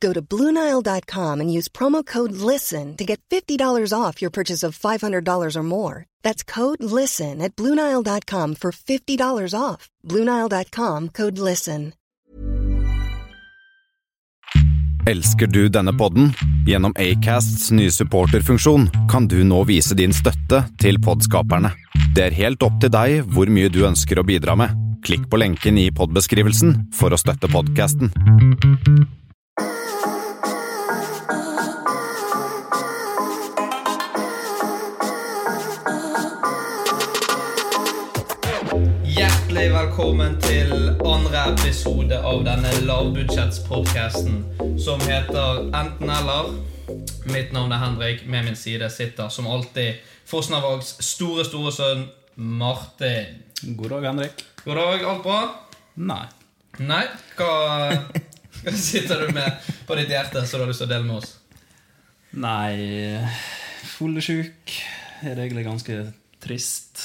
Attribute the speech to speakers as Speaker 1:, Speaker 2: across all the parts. Speaker 1: Go to BlueNile.com and use promo code LISTEN to get $50 off your purchase of $500 or more. That's code LISTEN at BlueNile.com for $50 off. BlueNile.com code LISTEN.
Speaker 2: Elsker du denne podden? Gjennom Acasts nye supporterfunksjon kan du nå vise din støtte til podskaperne. Det er helt opp til deg hvor mye du ønsker å bidra med. Klikk på lenken i podbeskrivelsen for å støtte podcasten.
Speaker 3: Hjertelig velkommen til andre episode av denne lavbudsjettspodkasten som heter Enten eller. Mitt navn er Henrik. Med min side sitter som alltid Fosnavågs store, store sønn Martin.
Speaker 4: God dag, Henrik.
Speaker 3: God dag, alt bra?
Speaker 4: Nei.
Speaker 3: Nei? Hva, hva sitter du med på ditt hjerte som du har lyst til å dele med oss?
Speaker 4: Nei Fuglesjuk er det egentlig ganske trist.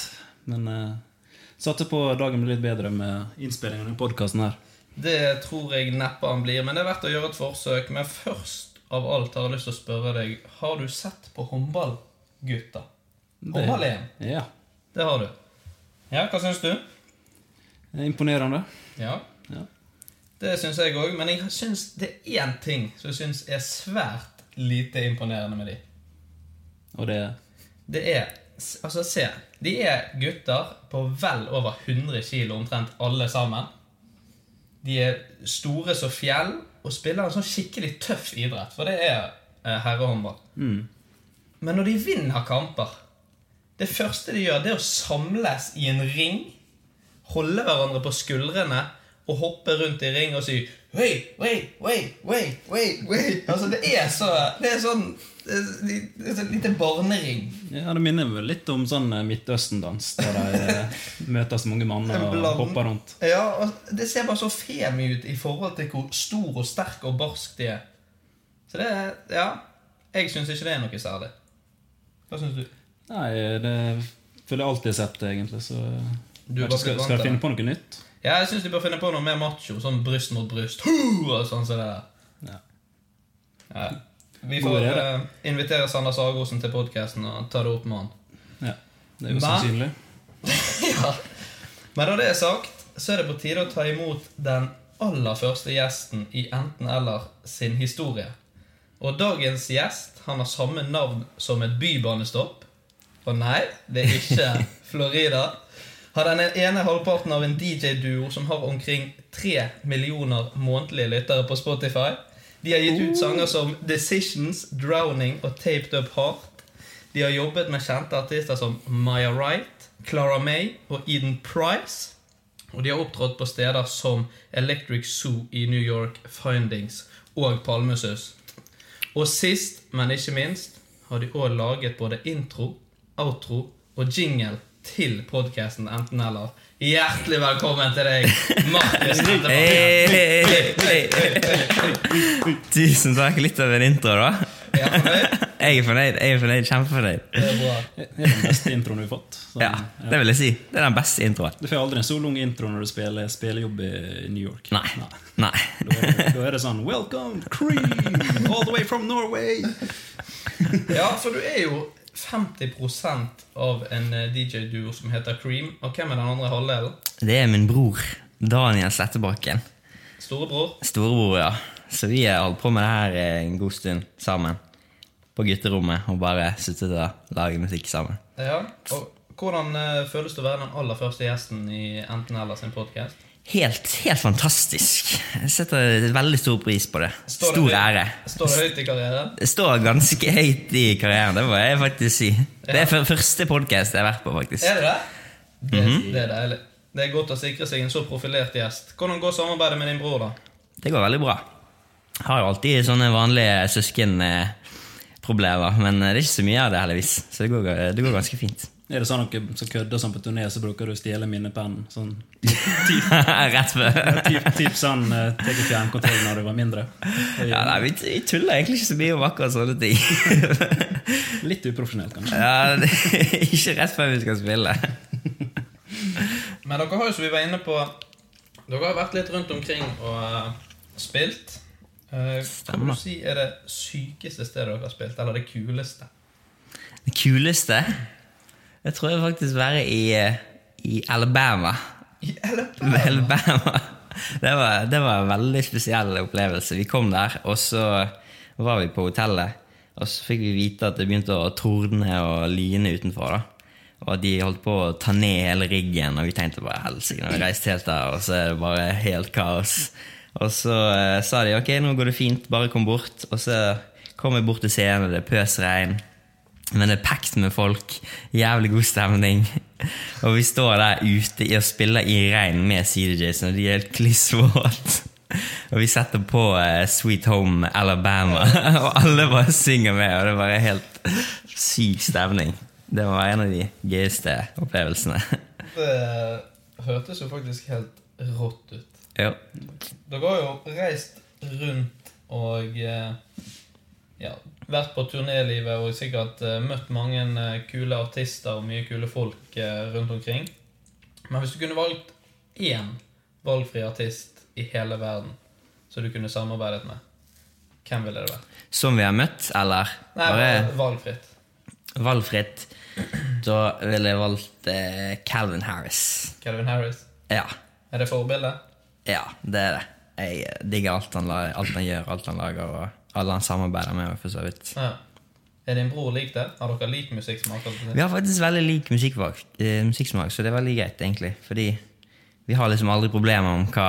Speaker 4: Men eh, satte på dagen blir litt bedre med innspillingen av podkasten her.
Speaker 3: Det tror jeg neppe han blir, men det er verdt å gjøre et forsøk. Men først av alt har jeg lyst til å spørre deg Har du sett på håndball, gutta? Håndball-EM?
Speaker 4: Ja.
Speaker 3: Det har du. Ja, hva syns du?
Speaker 4: Imponerende.
Speaker 3: Ja.
Speaker 4: Ja.
Speaker 3: Det syns jeg òg, men jeg syns det er én ting som jeg syns er svært lite imponerende med de.
Speaker 4: Og det
Speaker 3: Det er Altså, se. De er gutter på vel over 100 kilo omtrent alle sammen. De er store som fjell og spiller en sånn skikkelig tøff idrett, for det er eh, herrehåndball. Men når de vinner kamper Det første de gjør, det er å samles i en ring, holde hverandre på skuldrene og hoppe rundt i ring og si Wait, wait, wait, wait, wait, wait. Altså, det er så Det er sånn det er, det er sånn lite barnering.
Speaker 4: ja, det minner meg litt om sånn eh, Midtøsten-dans, der de eh, møtes mange manner
Speaker 3: En
Speaker 4: og
Speaker 3: bland-
Speaker 4: hopper rundt.
Speaker 3: Ja, og det ser bare så femi ut i forhold til hvor stor og sterk og barsk de er. Så det er Ja. Jeg syns ikke det er noe særlig. Hva syns du?
Speaker 4: Nei, det føler jeg alltid har sett, egentlig, så
Speaker 3: Du er
Speaker 4: Kanskje
Speaker 3: bare
Speaker 4: skal,
Speaker 3: vant
Speaker 4: skal
Speaker 3: til
Speaker 4: jeg finne på noe nytt?
Speaker 3: Ja, jeg syns de bør finne på noe mer macho. Sånn bryst mot bryst. Hu! Og sånn som det der.
Speaker 4: Ja.
Speaker 3: Ja. Vi
Speaker 4: God
Speaker 3: får
Speaker 4: idé,
Speaker 3: eh, invitere Sander Sagosen til podkasten og ta det opp med han.
Speaker 4: ja. Det er jo
Speaker 3: Hva?
Speaker 4: sannsynlig.
Speaker 3: ja. Men når det er sagt, så er det på tide å ta imot den aller første gjesten i Enten eller sin historie. Og dagens gjest han har samme navn som et bybanestopp. Og nei, det er ikke Florida. Har den ene halvparten av en DJ-duo som har omkring 3 millioner månedlige lyttere på Spotify. De har gitt ut sanger som Decisions, Drowning og Taped Up Heart. De har jobbet med kjente artister som Maya Wright, Clara May og Eden Price. Og de har opptrådt på steder som Electric Zoo i New York, Findings og Palmesus. Og sist, men ikke minst, har de òg laget både intro, outro og jingle til podkasten Enten Eller Hjertelig velkommen til deg, Markus Nettemann.
Speaker 5: Hey, hey, hey, hey, hey. Tusen takk. Litt av en intro, da.
Speaker 3: Er jeg fornøyd?
Speaker 5: Jeg er fornøyd. jeg er fornøyd, Kjempefornøyd.
Speaker 3: Det er bra.
Speaker 4: Det er den beste introen du har fått. Så,
Speaker 5: Ja, Det vil jeg si. Det er den beste introen.
Speaker 4: Du får aldri en så lang intro når du spiller spillejobb i i New York.
Speaker 5: Nei. Nei.
Speaker 4: Da er, det, da er det sånn Welcome, Cream, all the way from Norway.
Speaker 3: Ja, for du er jo 50 av en eh, DJ-duo som heter Cream. Og hvem er den andre halvdelen?
Speaker 5: Det er min bror Daniel Slettebakken.
Speaker 3: Storebror?
Speaker 5: Storebror, ja. Så vi har holdt på med det her eh, en god stund sammen. På gutterommet og bare sittet og laget musikk sammen.
Speaker 3: Ja. Og hvordan eh, føles det å være den aller første gjesten i Enten eller sin podkast?
Speaker 5: Helt, helt fantastisk. Jeg setter veldig stor pris på det. Stor ære.
Speaker 3: Står det høyt i karrieren?
Speaker 5: Det står ganske høyt i karrieren, det må jeg faktisk si. Det er fyr- første podkast jeg har vært på, faktisk.
Speaker 3: Er det det? Det,
Speaker 5: Mhm.
Speaker 3: det er deilig. Det er godt å sikre seg en så profilert gjest. Hvordan går samarbeidet med din bror, da?
Speaker 5: Det går veldig bra. Har jo alltid sånne vanlige søskenproblemer, men det er ikke så mye av det, heldigvis. Så det går, det går ganske fint.
Speaker 4: Er det sånn at dere som kødder sånn på turné, så bruker du å stjele minnepennen? Sånn,
Speaker 5: Rett før.
Speaker 4: typ, typ sånn uh, Tar fjernkontroll når du var mindre? Det
Speaker 5: Ja,
Speaker 4: er
Speaker 5: nei, vi, vi tuller egentlig ikke så mye om akkurat sånne ting.
Speaker 4: Litt uprofesjonelt, kanskje.
Speaker 5: ja, det, ikke rett før vi skal spille.
Speaker 3: Men dere har jo, som vi var inne på Dere har vært litt rundt omkring og eh, spilt. Eh, kan du
Speaker 5: Stemmer.
Speaker 3: si er det sykeste stedet dere har spilt, eller det kuleste?
Speaker 5: Det kuleste Jeg tror jeg faktisk være i, eh, i Alabama.
Speaker 3: I Alabama?
Speaker 5: Alabama. Det var, det var en veldig spesiell opplevelse. Vi kom der, og så var vi på hotellet. Og så fikk vi vite at det begynte å tordne og lyne utenfor. da. Og at de holdt på å ta ned hele riggen, og vi tenkte bare helsike, nå har vi reist helt der, og så er det bare helt kaos. Og så eh, sa de ok, nå går det fint, bare kom bort. Og så kom vi bort til scenen, og det pøsregn. Men det er pekt med folk. Jævlig god stemning. Og vi står der ute i- og spiller i regn med CDJ-en, og de er helt klissvåte. Og vi setter på eh, Sweet Home Alabama, og alle bare synger med. Og det er bare helt syk stemning. Det var en av de gøyeste opplevelsene.
Speaker 3: Det eh, hørtes jo faktisk helt rått ut.
Speaker 5: Jo.
Speaker 3: Dere har jo reist rundt og eh, ja, vært på turnélivet og sikkert eh, møtt mange eh, kule artister og mye kule folk eh, rundt omkring. Men hvis du kunne valgt én valgfri artist i hele verden som du kunne samarbeidet med, hvem ville det vært?
Speaker 5: Som vi har møtt, eller?
Speaker 3: Nei,
Speaker 5: Bare
Speaker 3: bare valgfritt.
Speaker 5: valgfritt. Da ville jeg valgt eh, Calvin Harris.
Speaker 3: Calvin Harris.
Speaker 5: Ja.
Speaker 3: Er det forbildet?
Speaker 5: Ja, det er det. Jeg eh, digger alt han, la- alt han gjør, alt han lager, og alle han samarbeider med. for så vidt.
Speaker 3: Ja. Er din bror lik det? Har dere lik musikksmak?
Speaker 5: Vi har faktisk veldig lik musikksmak, eh, musikksmak, så det er veldig greit, egentlig. Fordi vi har liksom aldri problemer om hva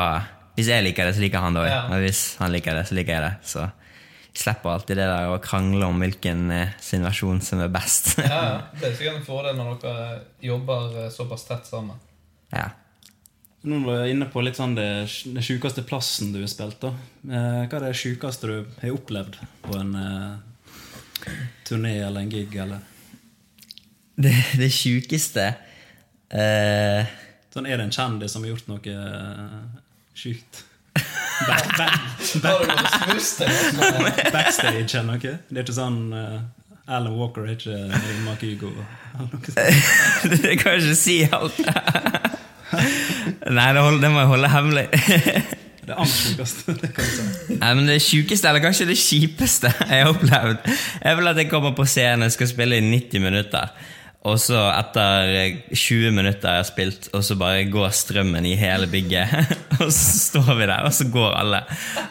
Speaker 5: Hvis jeg liker det, så liker han det òg.
Speaker 3: Ja.
Speaker 5: Og hvis han liker det, så liker jeg det. Så vi slipper alltid det der å krangle om hvilken eh, sin versjon som er best.
Speaker 3: Ja, ja. Det er sikkert en fordel når dere jobber eh, såpass tett sammen.
Speaker 5: ja.
Speaker 4: Nå var jeg inne på litt sånn det, den sjukeste plassen du har spilt. da. Eh, Hva er det sjukeste du har opplevd på en eh, turné eller en gig? eller?
Speaker 5: Det, det sjukeste eh,
Speaker 4: Sånn, Er det en kjendis som har gjort noe eh, sjukt? Back, back,
Speaker 3: Har du noe smuss til oss?
Speaker 4: backstage eller noe? Det er ikke sånn eh, Alan Walker er ikke Ringmark Hugo eller noe sånt.
Speaker 5: Jeg kan ikke si alt. Nei, det, hold, det må jeg holde hemmelig.
Speaker 4: Det er annet sjukeste. det kan jeg si.
Speaker 5: Nei, men Det sjukeste, eller kanskje det kjipeste jeg har opplevd, er vel at jeg kommer på scenen og skal spille i 90 minutter. Og så etter eh, 20 minutter jeg har spilt, og så bare går strømmen i hele bygget. Og så står vi der, og så går alle.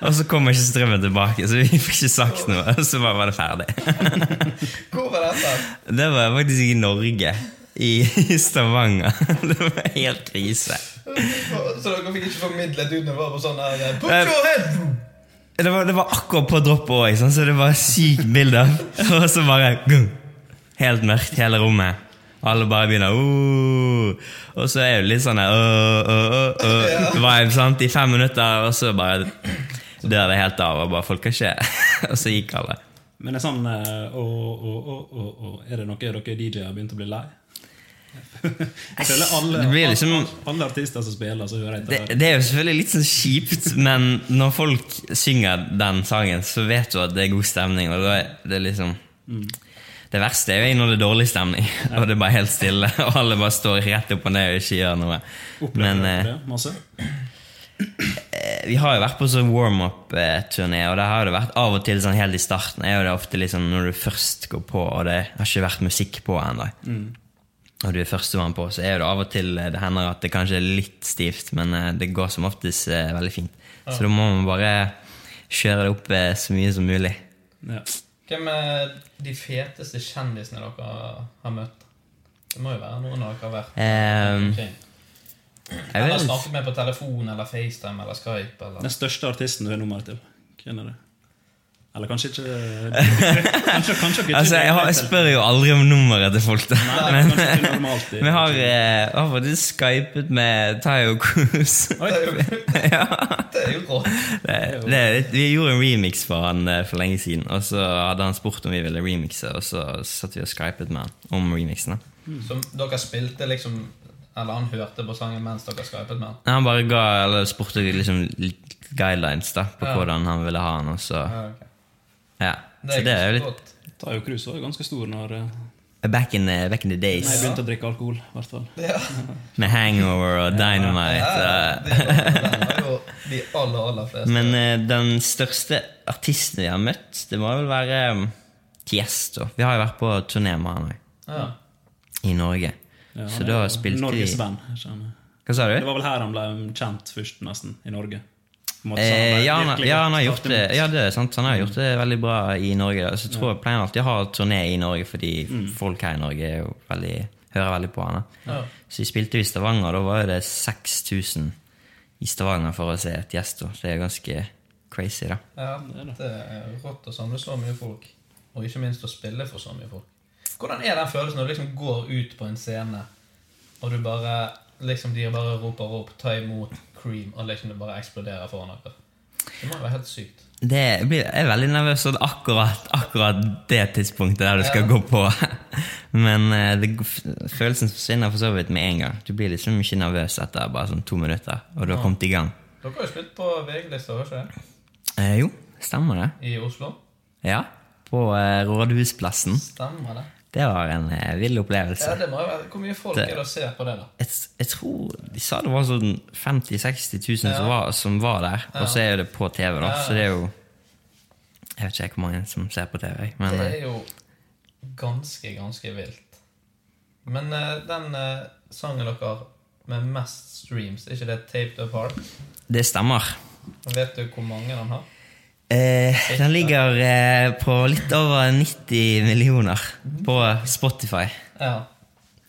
Speaker 5: Og så kommer ikke strømmen tilbake, så vi får ikke sagt noe. Og så bare var det ferdig.
Speaker 3: Hvor var dette?
Speaker 5: Det var faktisk i Norge. I i Stavanger. Det var helt krise.
Speaker 3: Så dere fikk ikke formidlet ut når det var på sånn her eh, Put your head!
Speaker 5: Det var, det var akkurat på droppet òg, så det var sykt bilde. Og så bare gung. Helt mørkt, hele rommet. Alle bare begynner «Åh». Og så er det litt sånn der, «Åh, åh, åh, åh», vibe sant? i fem minutter, og så bare dør det helt av. Og bare folk har ikke Og så gikk alle.
Speaker 4: Men det er sånn eh, å, å, å, å, å, Er det noe dere DJ-er har begynt å bli lei? Jeg føler alle,
Speaker 5: Det blir liksom-
Speaker 4: alle, alle artister som spiller, så hører jeg
Speaker 5: Det,
Speaker 4: etter.
Speaker 5: det er jo selvfølgelig litt sånn kjipt, men når folk synger den sangen, så vet du at det er god stemning. Og da er det liksom
Speaker 4: Mm.
Speaker 5: Det verste er jo når det er dårlig stemning, og det er bare helt stille, og alle bare står rett opp og ned og ikke gjør noe.
Speaker 4: Opplever
Speaker 5: Men
Speaker 4: dere
Speaker 5: eh,
Speaker 4: det masse?
Speaker 5: vi har jo vært på sånn warm-up-turné, og der har det vært av og til sånn helt i starten er jo det ofte liksom når du først går på, og det har ikke vært musikk på ennå,
Speaker 4: Mm.
Speaker 5: og du er førstemann på, så er det av og til eh, det hender at det kanskje er litt stivt, men eh, det går som oftest eh, veldig fint. Så da må man bare kjøre det opp eh, så mye som mulig.
Speaker 4: Ja.
Speaker 3: Hvem er de feteste kjendisene dere har møtt? Det må jo være noen dere har vært
Speaker 5: Ehm,
Speaker 3: omkring.
Speaker 5: jeg
Speaker 3: Eller
Speaker 5: vet ikke.
Speaker 3: snakket med på telefon eller FaceTime eller Skype. Eller.
Speaker 4: Den største artisten du er nummeret til? Hvem er det? Eller kanskje ikke Kanskje, kanskje ikke
Speaker 5: Altså, jeg, har, jeg spør jo aldri om nummeret til folk. Da.
Speaker 4: Nei,
Speaker 5: men
Speaker 4: kanskje ikke normalt.
Speaker 5: vi har, eh, har faktisk skypet med Tayo Cruz.
Speaker 3: Det er jo,
Speaker 5: ja.
Speaker 3: det er jo rått.
Speaker 5: det, det, vi gjorde en remix for han eh, for lenge siden, og så hadde han spurt om vi ville remixe, og så satt vi og skypet med han om remixen. da.
Speaker 3: Som dere spilte liksom Eller han hørte på sangen mens dere skypet med han.
Speaker 5: Nei, Han bare ga, eller spurte liksom litt guidelines da, på
Speaker 3: Ja.
Speaker 5: hvordan han ville ha han, og så
Speaker 3: Ja, Ah, ok.
Speaker 5: Ja. Så det er jo litt
Speaker 3: godt.
Speaker 4: Tayo Cruz var jo ganske stor når eh,
Speaker 5: back in, the- back in the
Speaker 4: når jeg
Speaker 5: days.
Speaker 4: begynte å drikke alkohol. i hvert fall
Speaker 3: Ja.
Speaker 5: Med hangover og dynamite.
Speaker 3: Ja,
Speaker 5: og-
Speaker 3: det er jo de aller, aller fleste.
Speaker 5: Men eh, den største artisten vi har møtt, det må vel være um, Tiesto. Vi har jo vært på turné med han også,
Speaker 3: Ja.
Speaker 5: i Norge.
Speaker 4: Ja,
Speaker 5: så
Speaker 4: han er
Speaker 5: da
Speaker 4: jo
Speaker 5: spilte vi
Speaker 4: Norges venn. jeg skjønner.
Speaker 5: Hva sa du?
Speaker 4: Det var vel her han ble kjent først, nesten, i Norge. På en måte, så han
Speaker 5: Eh,
Speaker 4: ble
Speaker 5: ja, han,
Speaker 4: virkelig
Speaker 5: ja, han har
Speaker 4: tatt
Speaker 5: gjort
Speaker 4: imot.
Speaker 5: det Ja, det er sant. Han har gjort det veldig bra i Norge. da. Så jeg tror jeg pleier alltid å ha turné i Norge, fordi
Speaker 4: Mm.
Speaker 5: folk her i Norge er jo veldig, hører veldig på han. da.
Speaker 3: Ja.
Speaker 5: Så vi spilte jo i Stavanger, da var jo det 6000 i Stavanger for å se et gjest. da. Det er ganske crazy, da.
Speaker 3: Ja, det er rått å samle så mye folk, og ikke minst å spille for så mye folk. Hvordan er den følelsen når du liksom går ut på en scene, og du bare liksom de bare roper opp 'ta imot cream', og liksom det bare eksploderer foran dere? Det må jo være helt sykt.
Speaker 5: Det blir, jeg er veldig nervøs for akkurat, akkurat det tidspunktet der du skal gå på. Men eh, det, følelsen forsvinner for så vidt med en gang. Du blir liksom ikke nervøs etter bare sånn to minutter, og du har kommet i gang.
Speaker 3: Dere har jo spilt på VG-lista, har dere ikke det?
Speaker 5: Eh, jo, stemmer det.
Speaker 3: I Oslo?
Speaker 5: Ja, På eh, Rådhusplassen.
Speaker 3: Stemmer det?
Speaker 5: Det var en eh, vill opplevelse.
Speaker 3: Ja, det må jo være. Hvor mye folk er det og ser på det, da?
Speaker 5: jeg, jeg tror de sa det var sånn 50 000-60 000 som, var, som var der. Og så er jo det på TV, da. Så det er jo Jeg vet ikke hvor mange som ser på TV. jeg, Men,
Speaker 3: Det
Speaker 5: eh,
Speaker 3: er jo ganske, ganske vilt. Men eh, den eh, sangen dere med mest streams, er ikke det 'Taped Apart'?
Speaker 5: det stemmer.
Speaker 3: Og Vet du hvor mange den har?
Speaker 5: Eh, den ligger eh, på litt over 90 millioner på Spotify.
Speaker 3: Ja.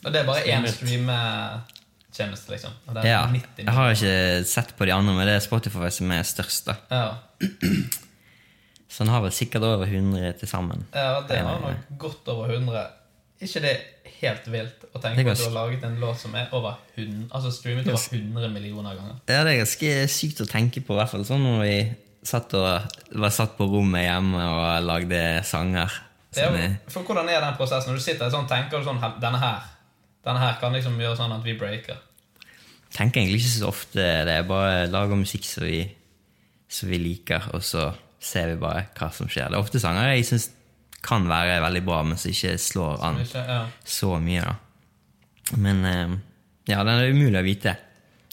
Speaker 3: Og det er bare én streametjeneste, liksom. Og den er
Speaker 5: Ja.
Speaker 3: 90
Speaker 5: Jeg har ikke sett på de andre, men det er Spotify som er størst. da.
Speaker 3: Ja.
Speaker 5: Så den har vel sikkert over 100 til sammen.
Speaker 3: ja, det har nok godt over 100. Ikke det helt vilt å tenke
Speaker 5: Det
Speaker 3: på
Speaker 5: går
Speaker 3: at du
Speaker 5: s-
Speaker 3: har laget en låt som er over 100, altså streamet over 100 millioner ganger?
Speaker 5: Ja, det er ganske sykt å tenke på, i hvert fall sånn når vi satt og var satt på rommet hjemme og lagde sanger.
Speaker 3: Det er,
Speaker 5: Sånn, eh,
Speaker 3: jo- for hvordan er den prosessen? Når du sitter sånn, tenker du sånn "Hel- Denne her Denne her kan liksom gjøre sånn at vi breaker.
Speaker 5: tenker egentlig ikke så ofte det. er Bare lager musikk som vi, som vi liker, og så ser vi bare hva som skjer. Det er ofte sanger jeg syns kan være veldig bra, men som ikke slår an
Speaker 3: Ikke, ja.
Speaker 5: så mye. da. Men eh, ja, den er umulig å vite,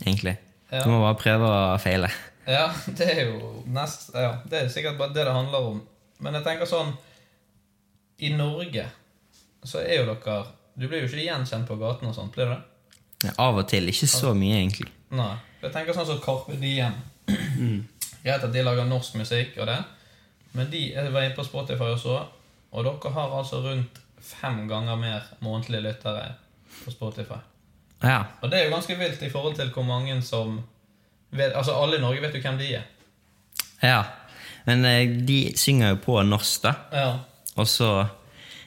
Speaker 5: egentlig.
Speaker 3: Ja.
Speaker 5: Du må bare prøve og feile.
Speaker 3: Ja, det er jo nest, ja, Det er sikkert bare det det handler om. Men jeg tenker sånn I Norge så er jo dere Du blir jo ikke gjenkjent på gaten og sånt, blir du det?
Speaker 5: Av og til. Ikke så mye, egentlig.
Speaker 3: Nei. Jeg tenker sånn som Carpe Diem. Greit at de lager norsk musikk og det, men de jeg var inne på Spotify og så, og dere har altså rundt fem ganger mer månedlige lyttere på Spotify.
Speaker 5: Ja,
Speaker 3: Og det er jo ganske vilt i forhold til hvor mange som vet, Altså alle i Norge vet jo hvem de er.
Speaker 5: ja. Men eh, de synger jo på norsk, da.
Speaker 3: Ja.
Speaker 5: Og så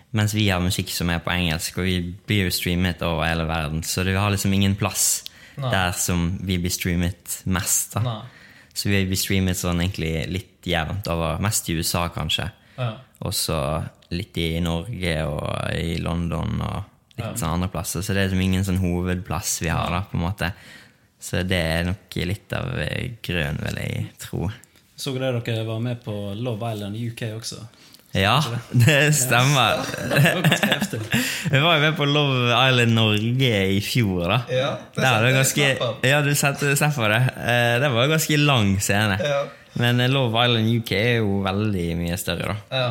Speaker 5: Mens vi har musikk som er på engelsk, og vi blir jo streamet over hele verden, så vi har liksom ingen plass
Speaker 3: Nei.
Speaker 5: der som vi blir streamet mest. da.
Speaker 3: Nei.
Speaker 5: Så vi blir streamet sånn egentlig litt jevnt over. Mest i USA, kanskje.
Speaker 3: Ja.
Speaker 5: Og så litt i Norge og i London og litt sånn andre plasser. Så det er liksom ingen sånn hovedplass vi har, da, på en måte. Så det er nok litt av eh, grønn, vil jeg tro.
Speaker 4: Så dere dere var med på Love Island UK også?
Speaker 5: Ja, det stemmer.
Speaker 4: Det var ganske heftig.
Speaker 5: Vi var jo med på Love Island Norge i fjor, da.
Speaker 3: Ja, det
Speaker 5: det
Speaker 3: setter
Speaker 5: Der var det
Speaker 3: jeg snapp
Speaker 5: ganske,
Speaker 3: av.
Speaker 5: ja du setter seg for det. Eh, Det var en ganske lang scene.
Speaker 3: Ja.
Speaker 5: Men eh, Love Island UK er jo veldig mye større, da.
Speaker 3: Ja,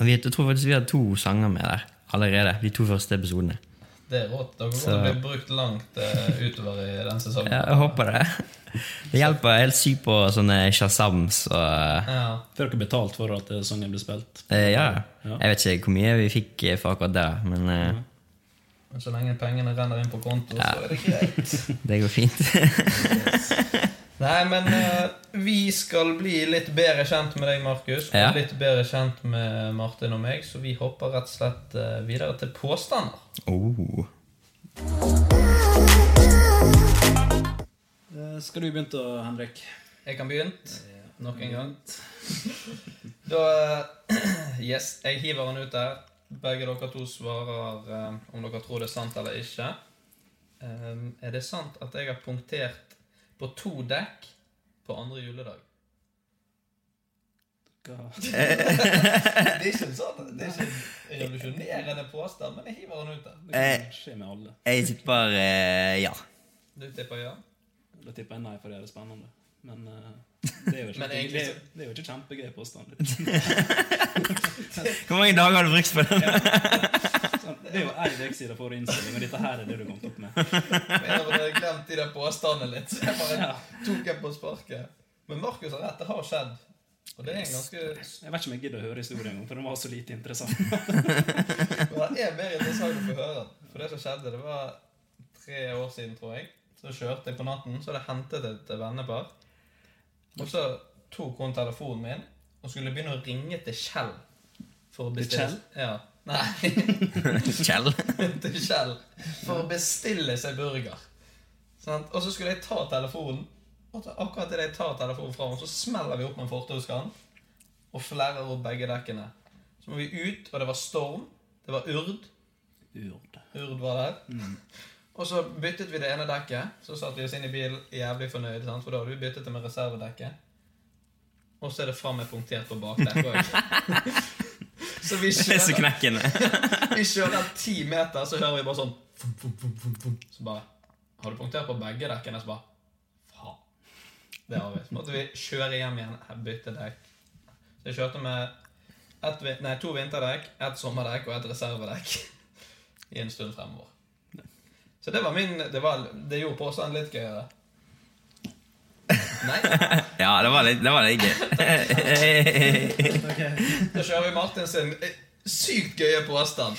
Speaker 5: Og vi, jeg tror faktisk vi har to sanger med der allerede. De to første episodene.
Speaker 3: det er rått. Da kommer det bli brukt langt eh, utover i den sesongen.
Speaker 5: Ja, jeg håper det. Det hjelper helt sykt på sånne shazams og
Speaker 3: Ja.
Speaker 4: Får dere betalt for at eh, sangen ble spilt?
Speaker 5: eh, Ja, jeg vet ikke hvor mye vi fikk eh, for akkurat det, men eh,
Speaker 3: Men så lenge pengene renner inn på konto, så er det greit.
Speaker 5: det går fint.
Speaker 3: Nei, men eh, vi skal bli litt bedre kjent med deg, Markus. Og
Speaker 5: Ja.
Speaker 3: litt bedre kjent med Martin og meg, så vi hopper rett og slett eh, videre til påstander.
Speaker 5: Oh.
Speaker 4: Eh, Skal du begynne, da, Henrik?
Speaker 3: Jeg kan begynne. Nok en gang. Da eh, Yes, jeg hiver den ut der. Begge dere to svarer eh, om dere tror det er sant eller ikke. Eh, er det sant at jeg har punktert på to dekk på andre juledag?
Speaker 4: Hva-
Speaker 3: Det er ikke en sånn, det er ikke en revolusjonerende påstand, men jeg hiver den ut der.
Speaker 5: Eh,
Speaker 4: skjer med alle.
Speaker 5: jeg tipper eh, ja.
Speaker 3: Du tipper ja?
Speaker 4: Da tipper jeg nei, for det er spennende. Men eh, det er jo ikke,
Speaker 3: Men egentlig
Speaker 4: det,
Speaker 3: så-
Speaker 4: det er jo ikke kjempegøy påstand. Det
Speaker 5: Hvor mange dager har du brukt på den?
Speaker 4: er jo ei uke for innstilling, og dette her er det du kom opp med.
Speaker 3: Men Jeg hadde glemt de der påstandene litt, så jeg bare tok en på sparket. Men Markus har rett, det har skjedd. Og det er en ganske
Speaker 4: Jeg vet ikke om jeg gidder å høre historien engang, for den var så lite interessant.
Speaker 3: Men det er mer interessant å få høre. For det som skjedde, det var tre år siden, tror jeg. Så kjørte jeg på natten, så hadde jeg hentet et vennepar. Og så tok hun telefonen min og skulle begynne å ringe til Kjell. For å bestille
Speaker 4: Kjell?
Speaker 3: Ja. Nei.
Speaker 5: Kjell?
Speaker 3: til Kjell for å bestille seg burger. Sant? Og så skulle jeg ta telefonen, og så akkurat idet jeg tar telefonen fra henne, så smeller vi opp med en fortauskant og flerrer opp begge dekkene. Så må vi ut, og det var storm, det var urd.
Speaker 4: Urd.
Speaker 3: Urd var der.
Speaker 5: Mm.
Speaker 3: Og så byttet vi det ene dekket. Så satte vi oss inn i bilen jævlig fornøyd, sant? for da hadde vi byttet det med reservedekket. Og så er det fram med punktert på bakdekket òg. så vi
Speaker 5: Det er så
Speaker 3: kjører
Speaker 5: knekkende.
Speaker 3: vi kjører ti meter, så hører vi bare sånn fum, fum, fum, fum, fum. Så bare Har du punktert på begge dekkene? Så bare Faen. Det har vi. Så måtte vi kjøre hjem igjen, bytte dekk. Så jeg kjørte med ett vin- nei, to vinterdekk, ett sommerdekk og et reservedekk i en stund fremover. Så det var min Det, var, det gjorde påstanden litt gøyere. Nei,
Speaker 5: Ja, det var litt, det var litt gøy.
Speaker 3: da kjører vi Martin sin eh, sykt gøye påstand.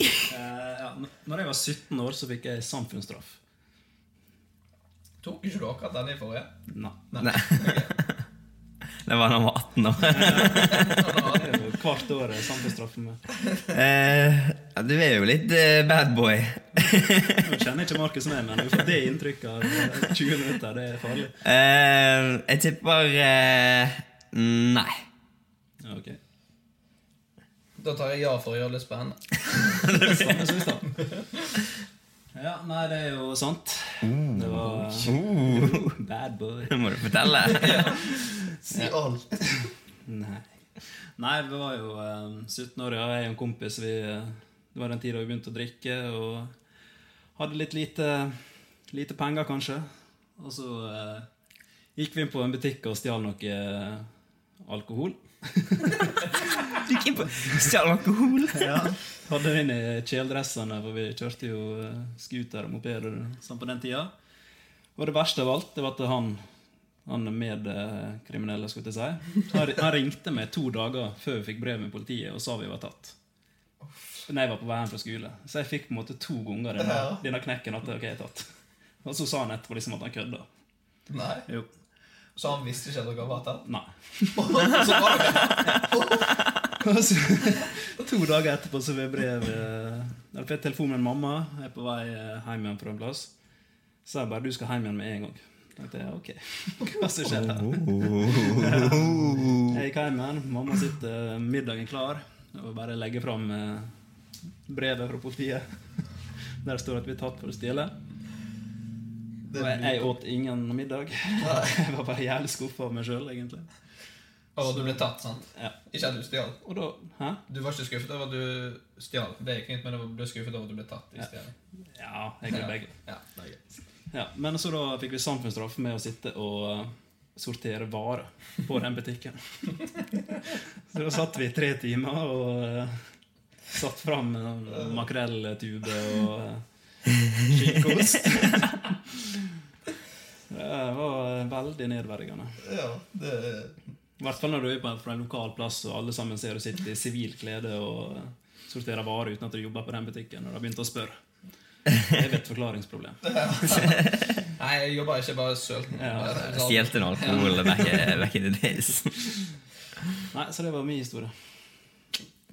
Speaker 4: Eh, ja, n- når jeg var 17 år, så fikk jeg samfunnsstraff.
Speaker 3: Tok ikke du akkurat denne i forrige?
Speaker 4: Nei.
Speaker 5: Nei. Det var da han var 18 år.
Speaker 4: Det er jo hvert år eh, samfunnsstraff for meg.
Speaker 5: Eh, ja, du er jo litt eh, bad boy.
Speaker 4: Nå kjenner jeg ikke Markus med, men jeg får det inntrykket av eh, 20 minutter. Det er farlig.
Speaker 5: Eh, jeg tipper eh, Nei.
Speaker 4: Ja, ok.
Speaker 3: Da tar jeg ja for å gjøre det litt spennende.
Speaker 4: Samme som i stad. Ja, nei, det er jo sant.
Speaker 3: Mm.
Speaker 4: Det var
Speaker 5: Uh,
Speaker 4: bad boy.
Speaker 5: det må du fortelle.
Speaker 3: Si alt.
Speaker 4: Nei. Nei, vi var jo eh, 17 år, ja. Jeg og en kompis vi, eh, Det var den tida vi begynte å drikke og hadde litt lite, lite penger, kanskje. Og så eh, gikk vi inn på en butikk og stjal noe eh, alkohol.
Speaker 5: Gikk inn på Stjal alkohol.
Speaker 4: Hadde vi inn i kjeledressene, for vi kjørte jo eh, scooter og mopeder sånn på den tida. Og det verste av alt det var at han han medkriminelle, skulle jeg til å si. Han, han ringte meg to dager før vi fikk brev med politiet og sa vi var tatt. Når jeg var på vei hjem fra skole. Så jeg fikk på en måte to ganger denne, denne knekken. at ok, jeg er tatt. Og så sa han etterpå liksom at han kødda.
Speaker 3: Nei,
Speaker 4: Jo.
Speaker 3: Så han visste ikke at dere var tatt?
Speaker 4: Nei.
Speaker 3: Så var dere tatt.
Speaker 4: Og så, to dager etterpå så får jeg brev eh, Eller får jeg telefon med en mamma. Jeg er på vei eh, hjem igjen fra en plass. Så jeg bare 'Du skal hjem igjen med en gang'. tenkte jeg, ok, hva som skjer her? Jeg gikk hjem igjen. Mamma sitter eh, middagen klar og bare legger fram eh, brevet fra politiet. Der står at vi er tatt for å stjele. Og jeg, jeg åt ingen middag. Jeg var bare jævlig skuffa av meg sjøl, egentlig.
Speaker 3: Og du ble tatt, sant?
Speaker 4: Ja.
Speaker 3: Ikke at du stjal.
Speaker 4: Og da Hæ?
Speaker 3: Du var ikke skuffet over at du stjal. Det gikk fint, men du ble skuffet over at du ble tatt. i stedet.
Speaker 4: Ja, egentlig begge.
Speaker 3: Ja, det er greit.
Speaker 4: Ja, men så da fikk vi samfunnsstraff med å sitte og eh, sortere varer på den butikken. så da satt vi i tre timer og eh, satt fram en makrelltube og eh, skinkeost. det var veldig nedverdigende.
Speaker 3: Ja, det
Speaker 4: I hvert fall når du er på en, fra en lokal plass og alle sammen ser du sitter i sivil klede og eh, sorterer varer uten at du jobber på den butikken, og de begynte å spørre. Det er et forklaringsproblem.
Speaker 3: Nei, jeg jobba ikke bare sølt. sånn
Speaker 4: Ja.
Speaker 3: Rar-
Speaker 5: Stjelte noe alkohol back, back in the days.
Speaker 4: Nei, så det var min historie.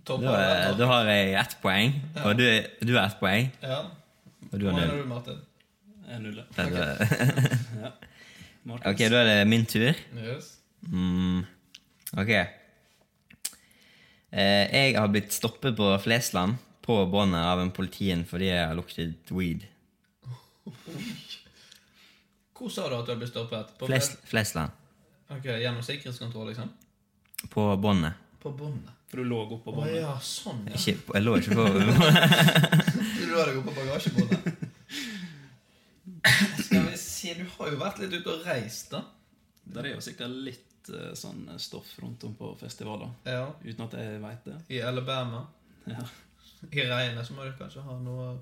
Speaker 3: Topper,
Speaker 5: Da, eh, da har jeg ett poeng, og du, du har ett poeng,
Speaker 3: Ja.
Speaker 5: og du
Speaker 3: Hva
Speaker 5: har
Speaker 3: mener
Speaker 5: null.
Speaker 3: du, Martin?
Speaker 4: Jeg er null.
Speaker 5: Det er-
Speaker 4: Markus.
Speaker 5: Ok, da er det min tur.
Speaker 3: Yes.
Speaker 5: Mm, ok. Eh, jeg har blitt stoppet på Flesland på båndet av en politien fordi jeg har luktet weed.
Speaker 3: Hvor sa du at du hadde blitt stoppet? På
Speaker 5: Fles, Flesland.
Speaker 3: Ok, Gjennom sikkerhetskontroll, liksom?
Speaker 5: På båndet.
Speaker 3: På båndet.
Speaker 4: For du lå oppå
Speaker 3: Å
Speaker 4: båndet.
Speaker 3: ja, sånn, ja.
Speaker 5: Ikke, jeg lå ikke på
Speaker 3: Du hadde gått på bagasjebåndet. Skal vi se, du har jo vært litt ute og reist, da.
Speaker 4: Der er jo sikkert litt eh, sånn stoff rundt om på festivaler.
Speaker 3: Ja.
Speaker 4: Uten at jeg veit det.
Speaker 3: I Alabama.
Speaker 4: Ja.
Speaker 3: I regnet så må du kanskje ha noe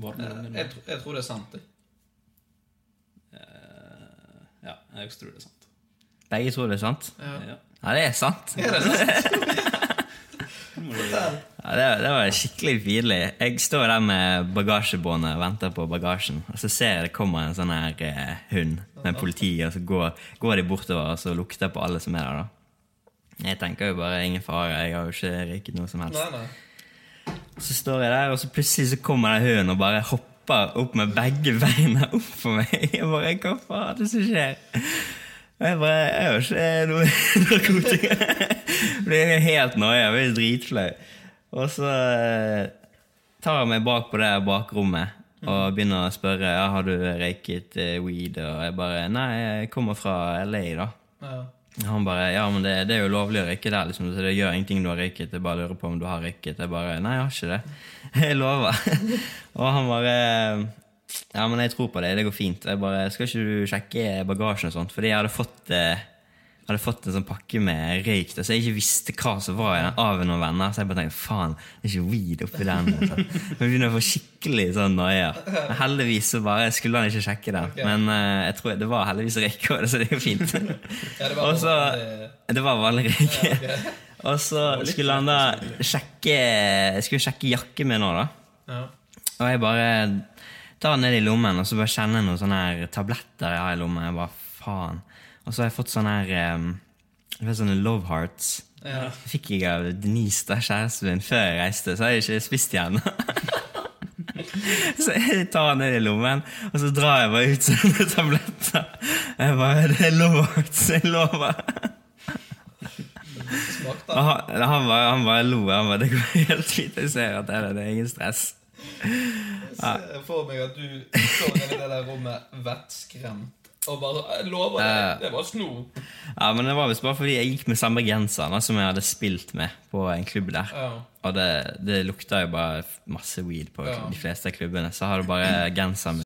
Speaker 4: Varme
Speaker 3: Eh, Jeg,
Speaker 4: lungene.
Speaker 3: tro- jeg tror det er sant. jeg.
Speaker 4: Eh, Ja, jeg også tror det er sant.
Speaker 5: Begge tror det er sant.
Speaker 4: Ja.
Speaker 5: Ja, det er sant.
Speaker 3: Er det sant?
Speaker 4: Nå må du-
Speaker 5: Ja, det, det var skikkelig pinlig. Jeg står der med bagasjebåndet og venter på bagasjen. Og så ser jeg det kommer en sånn her eh, hund med politi, og så går, går de bortover og så lukter på alle som er der. da. Jeg tenker jo bare ingen fare, jeg har jo ikke røyket noe som
Speaker 3: Nei,
Speaker 5: helst.
Speaker 3: nei.
Speaker 5: Så står jeg der, og så plutselig så kommer den hunden og bare hopper opp med begge beina opp for meg. Jeg bare Hva faen er det som skjer? Og jeg bare Jeg har ikke noe narkotika. Blir helt noia. Blir dritflau. Og så eh, tar jeg meg bak på det bakrommet og begynner å spørre ja, har du røyket eh, weed. Og jeg bare Nei, jeg kommer fra LA, da.
Speaker 3: Ja.
Speaker 5: Han bare Ja, men det, det er jo lovlig å røyke der, liksom, så det gjør ingenting du har røyket. Jeg bare lurer på om du har røyket. Jeg bare Nei, jeg har ikke det. Jeg lover. Og han bare Ja, men jeg tror på det. Det går fint. Jeg bare Skal ikke du sjekke bagasjen og sånt? Fordi jeg hadde fått eh, hadde fått en sånn pakke med røyk da, så jeg ikke visste hva som var i den av noen venner. Så jeg bare tenkte faen, det er ikke weed oppi den. Så jeg begynner å få skikkelig sånn noia. Men heldigvis så bare skulle han ikke sjekke den. Men eh, jeg tror det var heldigvis røyk òg, så det er jo fint.
Speaker 3: Ja, det var
Speaker 5: Og så
Speaker 3: vanlig-
Speaker 5: Det var vanlig røyk. Og så skulle han da sjekke jeg Skulle sjekke jakken min nå, da.
Speaker 3: Ja.
Speaker 5: Og jeg bare tar den ned i lommen og så bare kjenner jeg noen sånne her tabletter jeg har i lommen. Jeg bare, faen. Og så har jeg fått sånne her um, jeg vet, sånne Love Hearts.
Speaker 3: Ja.
Speaker 5: Fikk jeg av Denise, da, kjæresten min, før jeg reiste, så har jeg ikke spist igjen. så jeg tar den ned i lommen, og så drar jeg bare ut sånne tabletter. Jeg bare, Det er Love Hearts, jeg lover.
Speaker 3: Smakte
Speaker 5: Og han, han, bare, han bare lo. Han bare, det går helt fint. Jeg ser at det er det. Det er ingen stress.
Speaker 3: Jeg ser for meg at du står inne i det der rommet vettskremt og bare Jeg lover
Speaker 5: Ja.
Speaker 3: deg, det var snop.
Speaker 5: Ja, men det var visst bare fordi jeg gikk med samme genseren da, som jeg hadde spilt med på en klubb der.
Speaker 3: Ja.
Speaker 5: Og det, det lukta jo bare masse weed på
Speaker 3: Ja.
Speaker 5: de fleste av klubbene. Så har du bare genser med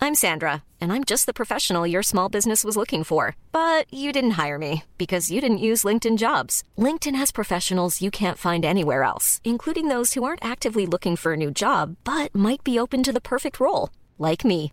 Speaker 6: I'm Sandra, and I'm just the professional your small business was looking for. But you didn't hire me because you didn't use LinkedIn jobs. LinkedIn has professionals you can't find anywhere else, including those who aren't actively looking for a new job but might be open to the perfect role, like me.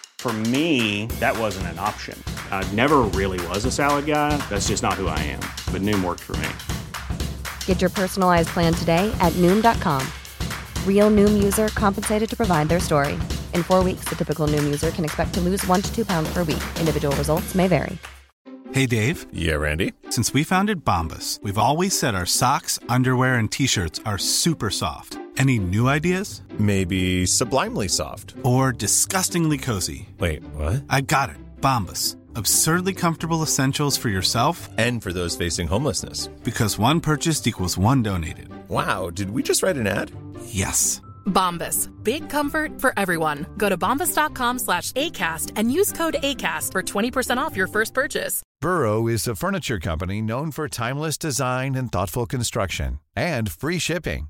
Speaker 7: For me, that wasn't an option. I never really was a salad guy. That's just not who I am. But Noom worked for me.
Speaker 1: Get your personalized plan today at Noom.com.
Speaker 8: Real Noom user compensated to provide their story. In four weeks, the typical Noom user can expect to lose one to two pounds per week. Individual results may vary.
Speaker 9: Hey, Dave.
Speaker 10: Yeah, Randy.
Speaker 9: Since we founded Bombus, we've always said our socks, underwear, and t shirts are super soft. Any new ideas?
Speaker 10: Maybe sublimely soft.
Speaker 9: Or disgustingly cozy.
Speaker 10: Wait, what?
Speaker 9: I got it. Bombus. Absurdly comfortable essentials for yourself
Speaker 10: and for those facing homelessness.
Speaker 9: Because one purchased equals one donated.
Speaker 10: Wow, did we just write an ad?
Speaker 9: Yes.
Speaker 11: Bombas. Big comfort for everyone. Go to bombas.com slash ACAST and use code ACAST for 20% off your first purchase.
Speaker 12: Burrow is a furniture company known for timeless design and thoughtful construction and free shipping,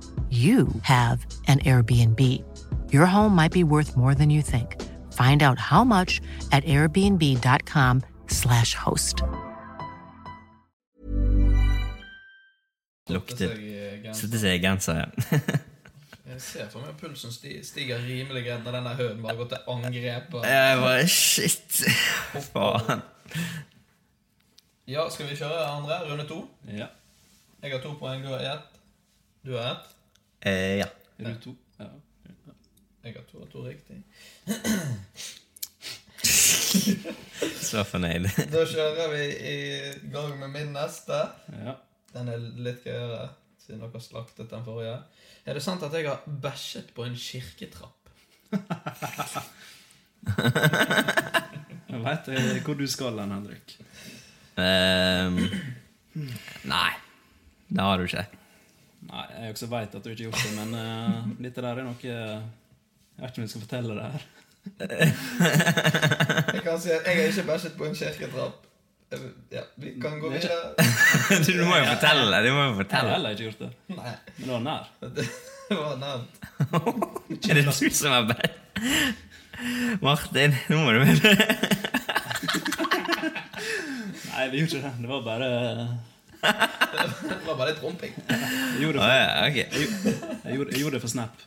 Speaker 6: you have an Airbnb. Your home might be worth more than you think. Find out how much at airbnb.com/slash host.
Speaker 5: Lukte Sette seg i genseren.
Speaker 3: Jeg ser for meg pulsen sti- stiger rimelig greit når den der hønen bare går til angrep. og-
Speaker 5: Jeg bare Shit! Faen.
Speaker 3: Ja, skal vi kjøre andre? Runde to?
Speaker 4: Ja.
Speaker 3: Jeg har to poeng, du har ett. Du har ett.
Speaker 5: Eh, ja.
Speaker 4: Er du to? Ja.
Speaker 3: Jeg har to og to riktig.
Speaker 5: Så fornøyd.
Speaker 3: Da kjører vi i gang med min neste.
Speaker 4: Ja.
Speaker 3: Den er litt gøyere, siden dere slaktet den forrige. Er det sant at jeg har bæsjet på en kirketrapp?
Speaker 4: Jeg veit hvor du skal hen, Henrik.
Speaker 5: Ehm, nei. Det har du ikke.
Speaker 4: Nei, jeg også veit at du ikke har gjort det, men eh, dette der er noe Jeg vet ikke om jeg skal fortelle det her.
Speaker 3: Jeg kan si at jeg har ikke bæsjet på en kirketrapp. Jeg- Ja, vi kan gå
Speaker 4: Det er
Speaker 3: videre.
Speaker 4: ikke-
Speaker 5: Du må jo fortelle, du må jo fortelle.
Speaker 4: Jeg har heller ikke gjort det.
Speaker 3: Nei.
Speaker 4: Men det var nær.
Speaker 3: Det var nevnt.
Speaker 5: Er det du som er best? Martin, nå må du
Speaker 4: Nei, vi gjorde ikke det. Det var bare eh,
Speaker 3: Det var bare litt romping.
Speaker 4: Jeg gjorde det for, jeg, gjorde- jeg, gjorde, jeg gjorde det for Snap.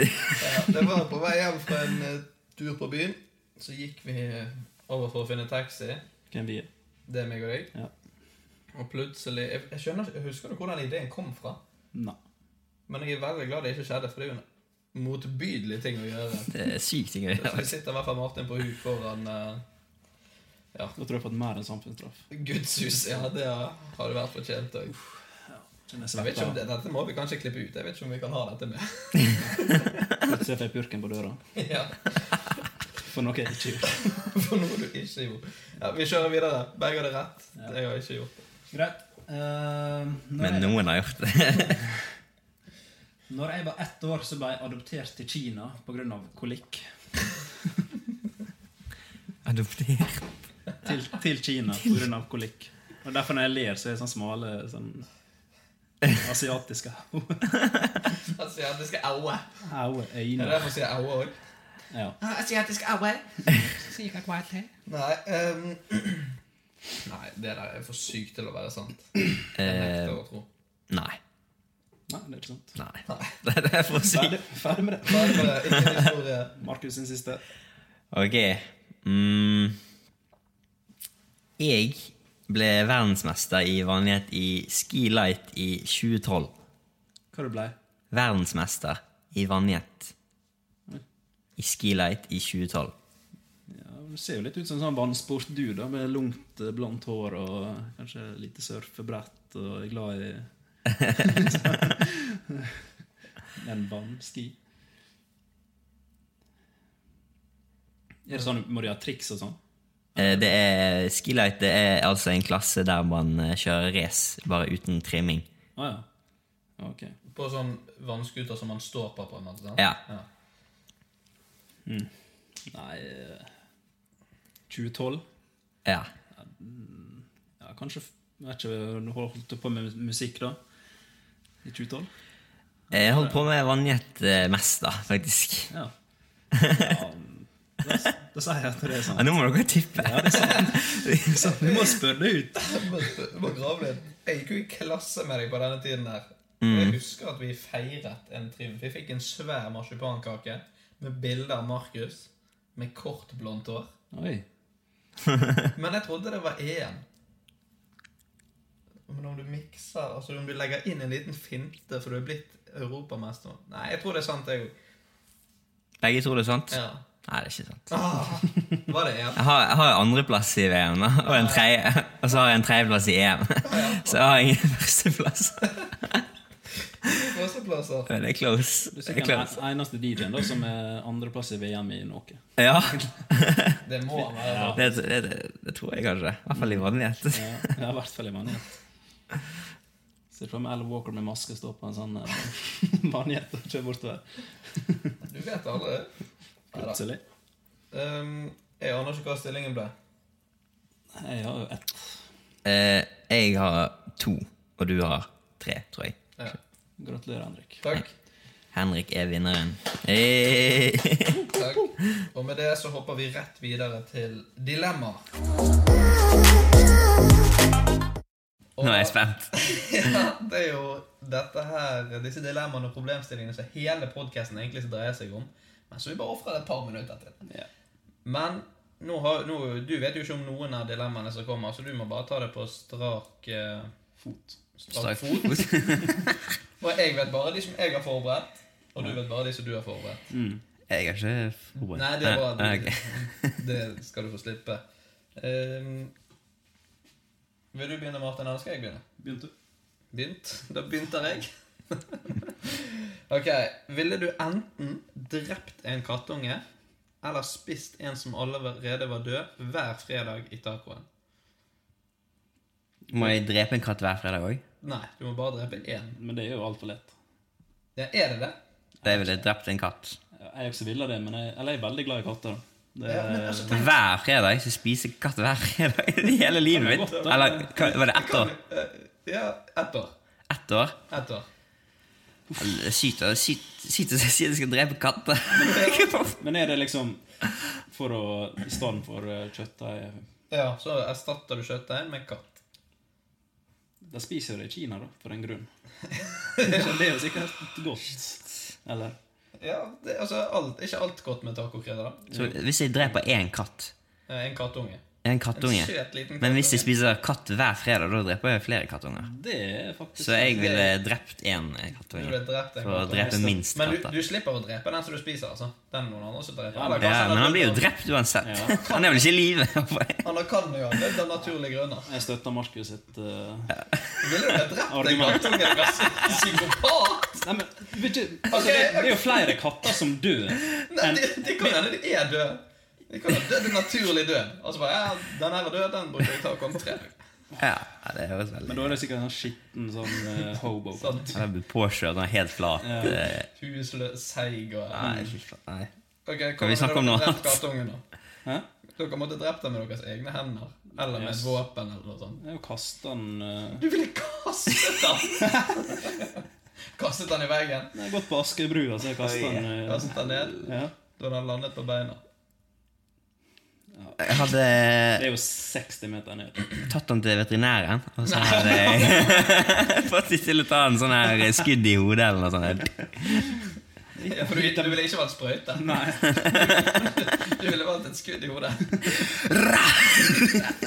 Speaker 3: Ja, det var på vei hjem fra en eh, tur på byen. Så gikk vi eh, over for å finne taxi.
Speaker 4: Hvem vi er.
Speaker 3: Det er meg og deg. Og plutselig jeg, jeg skjønner ikke, Husker du hvordan ideen kom fra?
Speaker 4: Nei.
Speaker 3: Men jeg er veldig glad det ikke skjedde, for det er jo en motbydelig ting å gjøre.
Speaker 5: Det er sykt ting å gjøre,
Speaker 3: Så Vi sitter i hvert fall Martin på huk foran eh, ja,
Speaker 4: Da tror jeg jeg har fått mer enn samfunnsstraff.
Speaker 3: Gudshus. Ja, det har- har det vært fortjent òg. Jeg vet ikke om det, Dette må vi kanskje klippe ut. Jeg vet ikke om vi kan ha dette med.
Speaker 4: Plutselig fikk jeg purken på døra.
Speaker 3: ja,
Speaker 4: For noe jeg ikke gjorde.
Speaker 3: For noe du ikke gjorde. Ja, vi kjører videre. Begge hadde rett. Jeg har ikke gjort det.
Speaker 4: Greit. Eh, når
Speaker 5: Men
Speaker 4: jeg-
Speaker 5: noen har gjort det.
Speaker 4: Når jeg var ett år, så ble jeg adoptert til Kina pga. kolikk.
Speaker 5: Adoptert?
Speaker 4: Til, til Kina pga. kolikk. Og Derfor når jeg ler, så er jeg sånn smale sånn asiatiske
Speaker 3: Asiatiske aue.
Speaker 4: Aue, øyne.
Speaker 3: Er det derfor sier jeg aue òg?
Speaker 4: Ja.
Speaker 3: Asiatisk aue. Nei, ehm, nei, det der er for sykt til å være sant. Jeg nekter å tro.
Speaker 5: Nei.
Speaker 4: Nei, det er ikke sant.
Speaker 5: Nei. Det er for sykt.
Speaker 4: Ferdig, ferdig med det.
Speaker 3: Ferdig med det. Ikke historie.
Speaker 4: Markus sin siste.
Speaker 5: Ok. Mm. Jeg ble verdensmester i vanlighet i skilight i 2012.
Speaker 4: Hva du ble
Speaker 5: Verdensmester i vanlighet i skilight i 2012.
Speaker 4: ja, Du ser jo litt ut som en sånn vannsport du, da, med langt, eh, blondt hår og kanskje lite surfebrett og er glad i En vannski. Er det sånn, Må de ha triks og sånn?
Speaker 5: Eh, Det er Skilight det er altså en klasse der man eh, kjører race, bare uten trimming.
Speaker 4: Å ja. Ok.
Speaker 3: På sånn vannskuter som man står på, på en måte? sant?
Speaker 5: Ja.
Speaker 4: Nei eh, 2012?
Speaker 5: Ja.
Speaker 4: mm, ja kanskje f- vet ikke, du holdt på med musikk da? I 2012?
Speaker 5: Jeg holdt på med vannjet eh, mest, da, faktisk.
Speaker 4: Ja. ja da, s- da sier jeg at det er sant.
Speaker 5: Ja, nå må dere tippe.
Speaker 4: Ja, det er sant. Så Du må spørre det ut.
Speaker 3: Du må- du må grave litt. Jeg gikk jo i klasse med deg på denne tiden der.
Speaker 5: Mm.
Speaker 3: Og jeg husker at vi feiret en triumf. Vi fikk en svær marsipankake med bilde av Markus med kort, blondt hår.
Speaker 4: Oi.
Speaker 3: Men jeg trodde det var EM. Men om du mikser Altså om du legger inn en liten finte, for du er blitt europamester Nei, jeg tror det er sant, jeg òg.
Speaker 5: Begge tror det er sant?
Speaker 3: Ja.
Speaker 5: Nei, det er ikke sant.
Speaker 3: Ah, var det EM?
Speaker 5: Jeg har, jeg har andreplass i VM, da, og, en tredje, og så har jeg en tredjeplass i EM. Så jeg har ingen førsteplass.
Speaker 3: Førsteplasser.
Speaker 5: Men det er close.
Speaker 4: Du er
Speaker 5: Det er
Speaker 4: sikkert
Speaker 5: close.
Speaker 4: den eneste DJ-en da som er andreplass i VM i noe.
Speaker 5: Ja.
Speaker 3: Det må han være.
Speaker 4: Ja.
Speaker 5: Det, det, det, det tror jeg kanskje. I hvert fall i vanlighet.
Speaker 4: Ja, ja, i hvert fall i manjet. Ser for meg Al Walker med maske stå på en sånn eh, manjet og kjøre bortover.
Speaker 3: Du vet aldri. Nei da.
Speaker 4: Plutselig.
Speaker 3: Um, jeg aner ikke hva stillingen ble.
Speaker 4: Jeg har jo ett.
Speaker 5: Eh, jeg har to, og du har tre, tror jeg.
Speaker 3: Ja.
Speaker 4: Gratulerer, Henrik.
Speaker 3: Takk.
Speaker 5: Henrik er vinneren. Eh. Hey.
Speaker 3: Takk. Og med det så hopper vi rett videre til dilemma.
Speaker 5: Nå er jeg spent.
Speaker 3: ja, det er jo dette her, disse dilemmaene og problemstillingene som hele podkasten egentlig dreier seg om. Men så vi bare ofrer det et par minutter til. Men nå har, nå, du vet jo ikke om noen av dilemmaene som kommer, så du må bare ta det på strak eh, fot.
Speaker 5: Strak
Speaker 3: Strak fot. og jeg vet bare de som jeg har forberedt, og du vet bare de som du har forberedt.
Speaker 5: Jeg har ikke forberedt
Speaker 3: Nei, det var
Speaker 5: Nei, ok.
Speaker 3: Det skal du få slippe. Ehm, vil du begynne, Martin, eller skal jeg begynne?
Speaker 4: Begynte.
Speaker 3: Begynt? Da begynte jeg. ok. Ville du enten drept en kattunge eller spist en som allerede var død, hver fredag i tacoen?
Speaker 5: Må jeg drepe en katt hver fredag òg?
Speaker 3: Nei, du må bare drepe én.
Speaker 4: Men det er jo altfor lett.
Speaker 3: Ja, er det det?
Speaker 5: Da ville jeg drept en katt.
Speaker 4: Jeg også ville det, men jeg, eller jeg er veldig glad i katter. Det
Speaker 3: Ja, men altså, tenk-
Speaker 5: Hver fredag så spiser jeg katt hver fredag i hele livet mitt.
Speaker 4: godt, da.
Speaker 5: Eller hva- var det ett år?
Speaker 3: Eh, Ja, ett år.
Speaker 5: Ett år?
Speaker 3: Ett år.
Speaker 5: Sykt å sykt- sykt å si at jeg skal drepe katter.
Speaker 4: Men er det liksom for å I stedet for eh, kjøttdeig
Speaker 3: Ja, så erstatter du kjøttdeig med katt.
Speaker 4: Da spiser de i Kina, da, for en grunn. Så det er jo sikkert godt. Eller?
Speaker 3: Ja, det, altså alt, ikke alt godt med tacokrydder, da.
Speaker 5: Så hvis jeg dreper én katt
Speaker 3: Eh, En kattunge.
Speaker 5: En kattunge.
Speaker 3: En søt liten
Speaker 5: Men hvis jeg
Speaker 3: kattunge.
Speaker 5: spiser katt hver fredag, da dreper jeg flere kattunger.
Speaker 4: Det er faktisk
Speaker 5: Så jeg ville drept én
Speaker 3: Du
Speaker 5: kattunge.
Speaker 3: ble drept en
Speaker 5: For å
Speaker 3: kattunge.
Speaker 5: drepe minst
Speaker 3: Men du,
Speaker 5: katter.
Speaker 3: du slipper å drepe den som du spiser, altså. Den er noen andre som dreper. Eller kanskje
Speaker 5: Ja, men han blir jo
Speaker 3: død av-
Speaker 5: drept uansett.
Speaker 4: Ja.
Speaker 5: Han er vel ikke i live?
Speaker 3: Han kan jo ha dødd av naturlige grunner.
Speaker 4: Jeg støtter Markus sitt eh,
Speaker 3: Ville du ha drept en
Speaker 4: Argument.
Speaker 3: kattunge? Du var psykopat!
Speaker 4: Nei, men vet du, altså, det, det er jo flere katter som dør
Speaker 3: Nei,
Speaker 4: enn
Speaker 3: det, det kan hende de er døde. De kan ha dødd en naturlig død. Altså bare, ja, Den her er død, den bruker jeg ta og kontre.
Speaker 5: Ja, det høres veldig
Speaker 4: Men da er det sikkert en skitten sånn eh, hobo.
Speaker 3: Sånn
Speaker 5: Han er blitt påkjørt, han er helt flat. eh,
Speaker 3: husløs, seig og
Speaker 5: Nei, fy faen. Nei.
Speaker 3: Ok, hva
Speaker 5: Kan vi
Speaker 3: om
Speaker 5: snakke
Speaker 3: dere
Speaker 5: om noe
Speaker 3: drept
Speaker 5: annet?
Speaker 3: Kattungen, da?
Speaker 4: Hæ?
Speaker 3: Dere måtte drept den med deres egne hender. Eller med et
Speaker 4: Yes.
Speaker 3: våpen eller noe sånt.
Speaker 4: Jeg har jo kastet den eh,
Speaker 3: Du ville kastet den! kastet den i veggen.
Speaker 4: Jeg har gått på Askebrua, så jeg kastet den eh,
Speaker 3: Kastet den ned
Speaker 4: ja.
Speaker 3: da den landet på beina.
Speaker 5: Jeg hadde
Speaker 4: Det er jo 60 meter ned.
Speaker 5: tatt han til veterinæren, og så hadde jeg fått de til å ta en sånn her skudd i hodet eller noe sånt.
Speaker 3: Ja, for du, du ville ikke valgt sprøyte.
Speaker 4: Nei,
Speaker 3: Du ville valgt et skudd i hodet.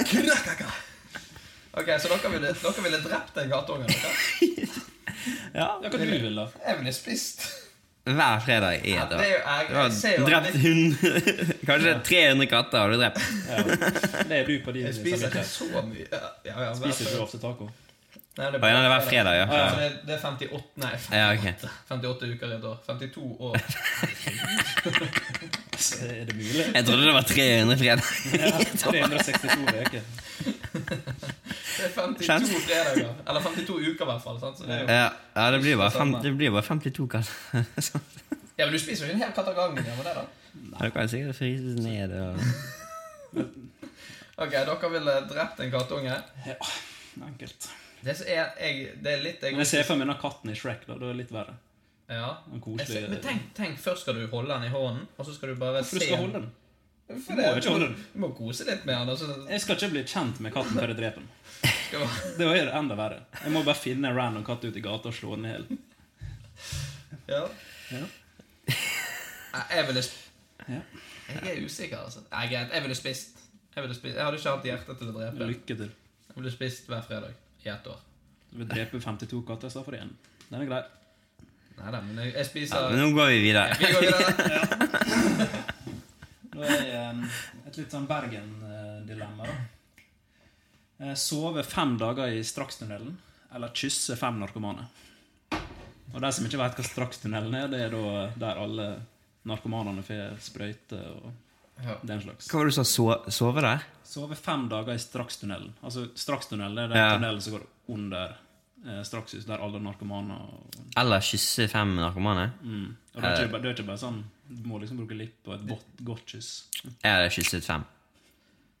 Speaker 3: Krakaka. Ok, så dere ville, dere ville drept den gateungen? dere?
Speaker 5: Ja,
Speaker 4: Hva du vil da?
Speaker 3: Jeg ville spist.
Speaker 5: Hver fredag i
Speaker 3: Ja,
Speaker 5: et
Speaker 3: det
Speaker 5: år.
Speaker 3: er jo jeg,
Speaker 5: Du
Speaker 3: jeg ser jo
Speaker 5: har drept
Speaker 3: litt-
Speaker 5: hund Kanskje 300 katter har du drept.
Speaker 4: Ja. Det er du på din
Speaker 3: Jeg spiser ikke
Speaker 4: samvittighet.
Speaker 3: så mye. Ja, ja, ja,
Speaker 4: Spiser du ofte taco?
Speaker 3: Nei,
Speaker 5: Å, ja, det var fredag, ja.
Speaker 3: Så det, det er 58 Nei, 58,
Speaker 5: Ja, ok.
Speaker 3: 58 uker i et år. 52 år.
Speaker 4: Er det mulig?
Speaker 5: Jeg trodde det var 300 fredag.
Speaker 4: Ja, 362 uker.
Speaker 3: Det er 52 fredager. Eller 52 uker, i hvert fall. Sant? Så det er jo,
Speaker 5: Ja, ja det, blir bare fem,
Speaker 3: Samme.
Speaker 5: det blir bare 52 kall.
Speaker 3: ja, men du spiser jo ikke en hel katt av gangen. Ja, men det da.
Speaker 5: Da kan jeg sikkert fryses ned. Og...
Speaker 3: Ok, dere ville drept en kattunge?
Speaker 4: Ja, enkelt.
Speaker 3: Det, som er, jeg, det er litt
Speaker 4: Men jeg ser for meg den katten i Shrek, da. Da er det litt verre.
Speaker 3: Ja.
Speaker 4: En
Speaker 3: Jeg
Speaker 4: koselig
Speaker 3: ser- Men tenk, tenk, først skal du holde den i hånden, og så skal du bare
Speaker 4: Hvorfor du
Speaker 3: se
Speaker 4: skal holde den?
Speaker 3: For
Speaker 4: Du
Speaker 3: det,
Speaker 4: må jo ikke holde den.
Speaker 3: Du må kose litt med den. og så-
Speaker 4: Jeg skal ikke bli kjent med katten før jeg dreper den. Det er jo enda verre. Jeg må bare finne en random katt ute i gata og slå den i hjel.
Speaker 3: Ja.
Speaker 4: Ja.
Speaker 3: Nei, Jeg ville sp-
Speaker 4: Ja.
Speaker 3: Jeg er usikker, altså. Nei, greit. Jeg ville spist. Jeg, ville spist. jeg hadde ikke hatt hjerte til å drepe.
Speaker 4: Lykke til.
Speaker 3: Jeg ville spist hver fredag i ett år.
Speaker 4: Du vil drepe 52 katter i stedet for én. Den er grei.
Speaker 3: Nei da, men jeg, jeg spiser
Speaker 5: Ja, men nå går vi videre.
Speaker 3: Ja, vi går videre.
Speaker 4: Nå er jeg, em, et litt sånn Bergen-dilemma, da. Eh, Sove fem dager i strakstunnelen, eller kysse fem narkomane. Og de som ikke vet hva strakstunnelen er, det er da der alle narkomanene får sprøyte og
Speaker 3: Ja.
Speaker 4: den slags.
Speaker 5: Hva var det du sa? so- Sove der?
Speaker 4: Sove fem dager i strakstunnelen. Altså, strakstunnelen det er den
Speaker 5: Ja.
Speaker 4: tunnelen som går under eh, strakshus, der alle narkomane og
Speaker 5: Eller kysse fem narkomane?
Speaker 4: mm. Og det er,
Speaker 5: Eh,
Speaker 4: ikke, bare- det er ikke bare sånn Du må liksom bruke lipp og et godt, godt kyss.
Speaker 5: Jeg hadde kysset fem.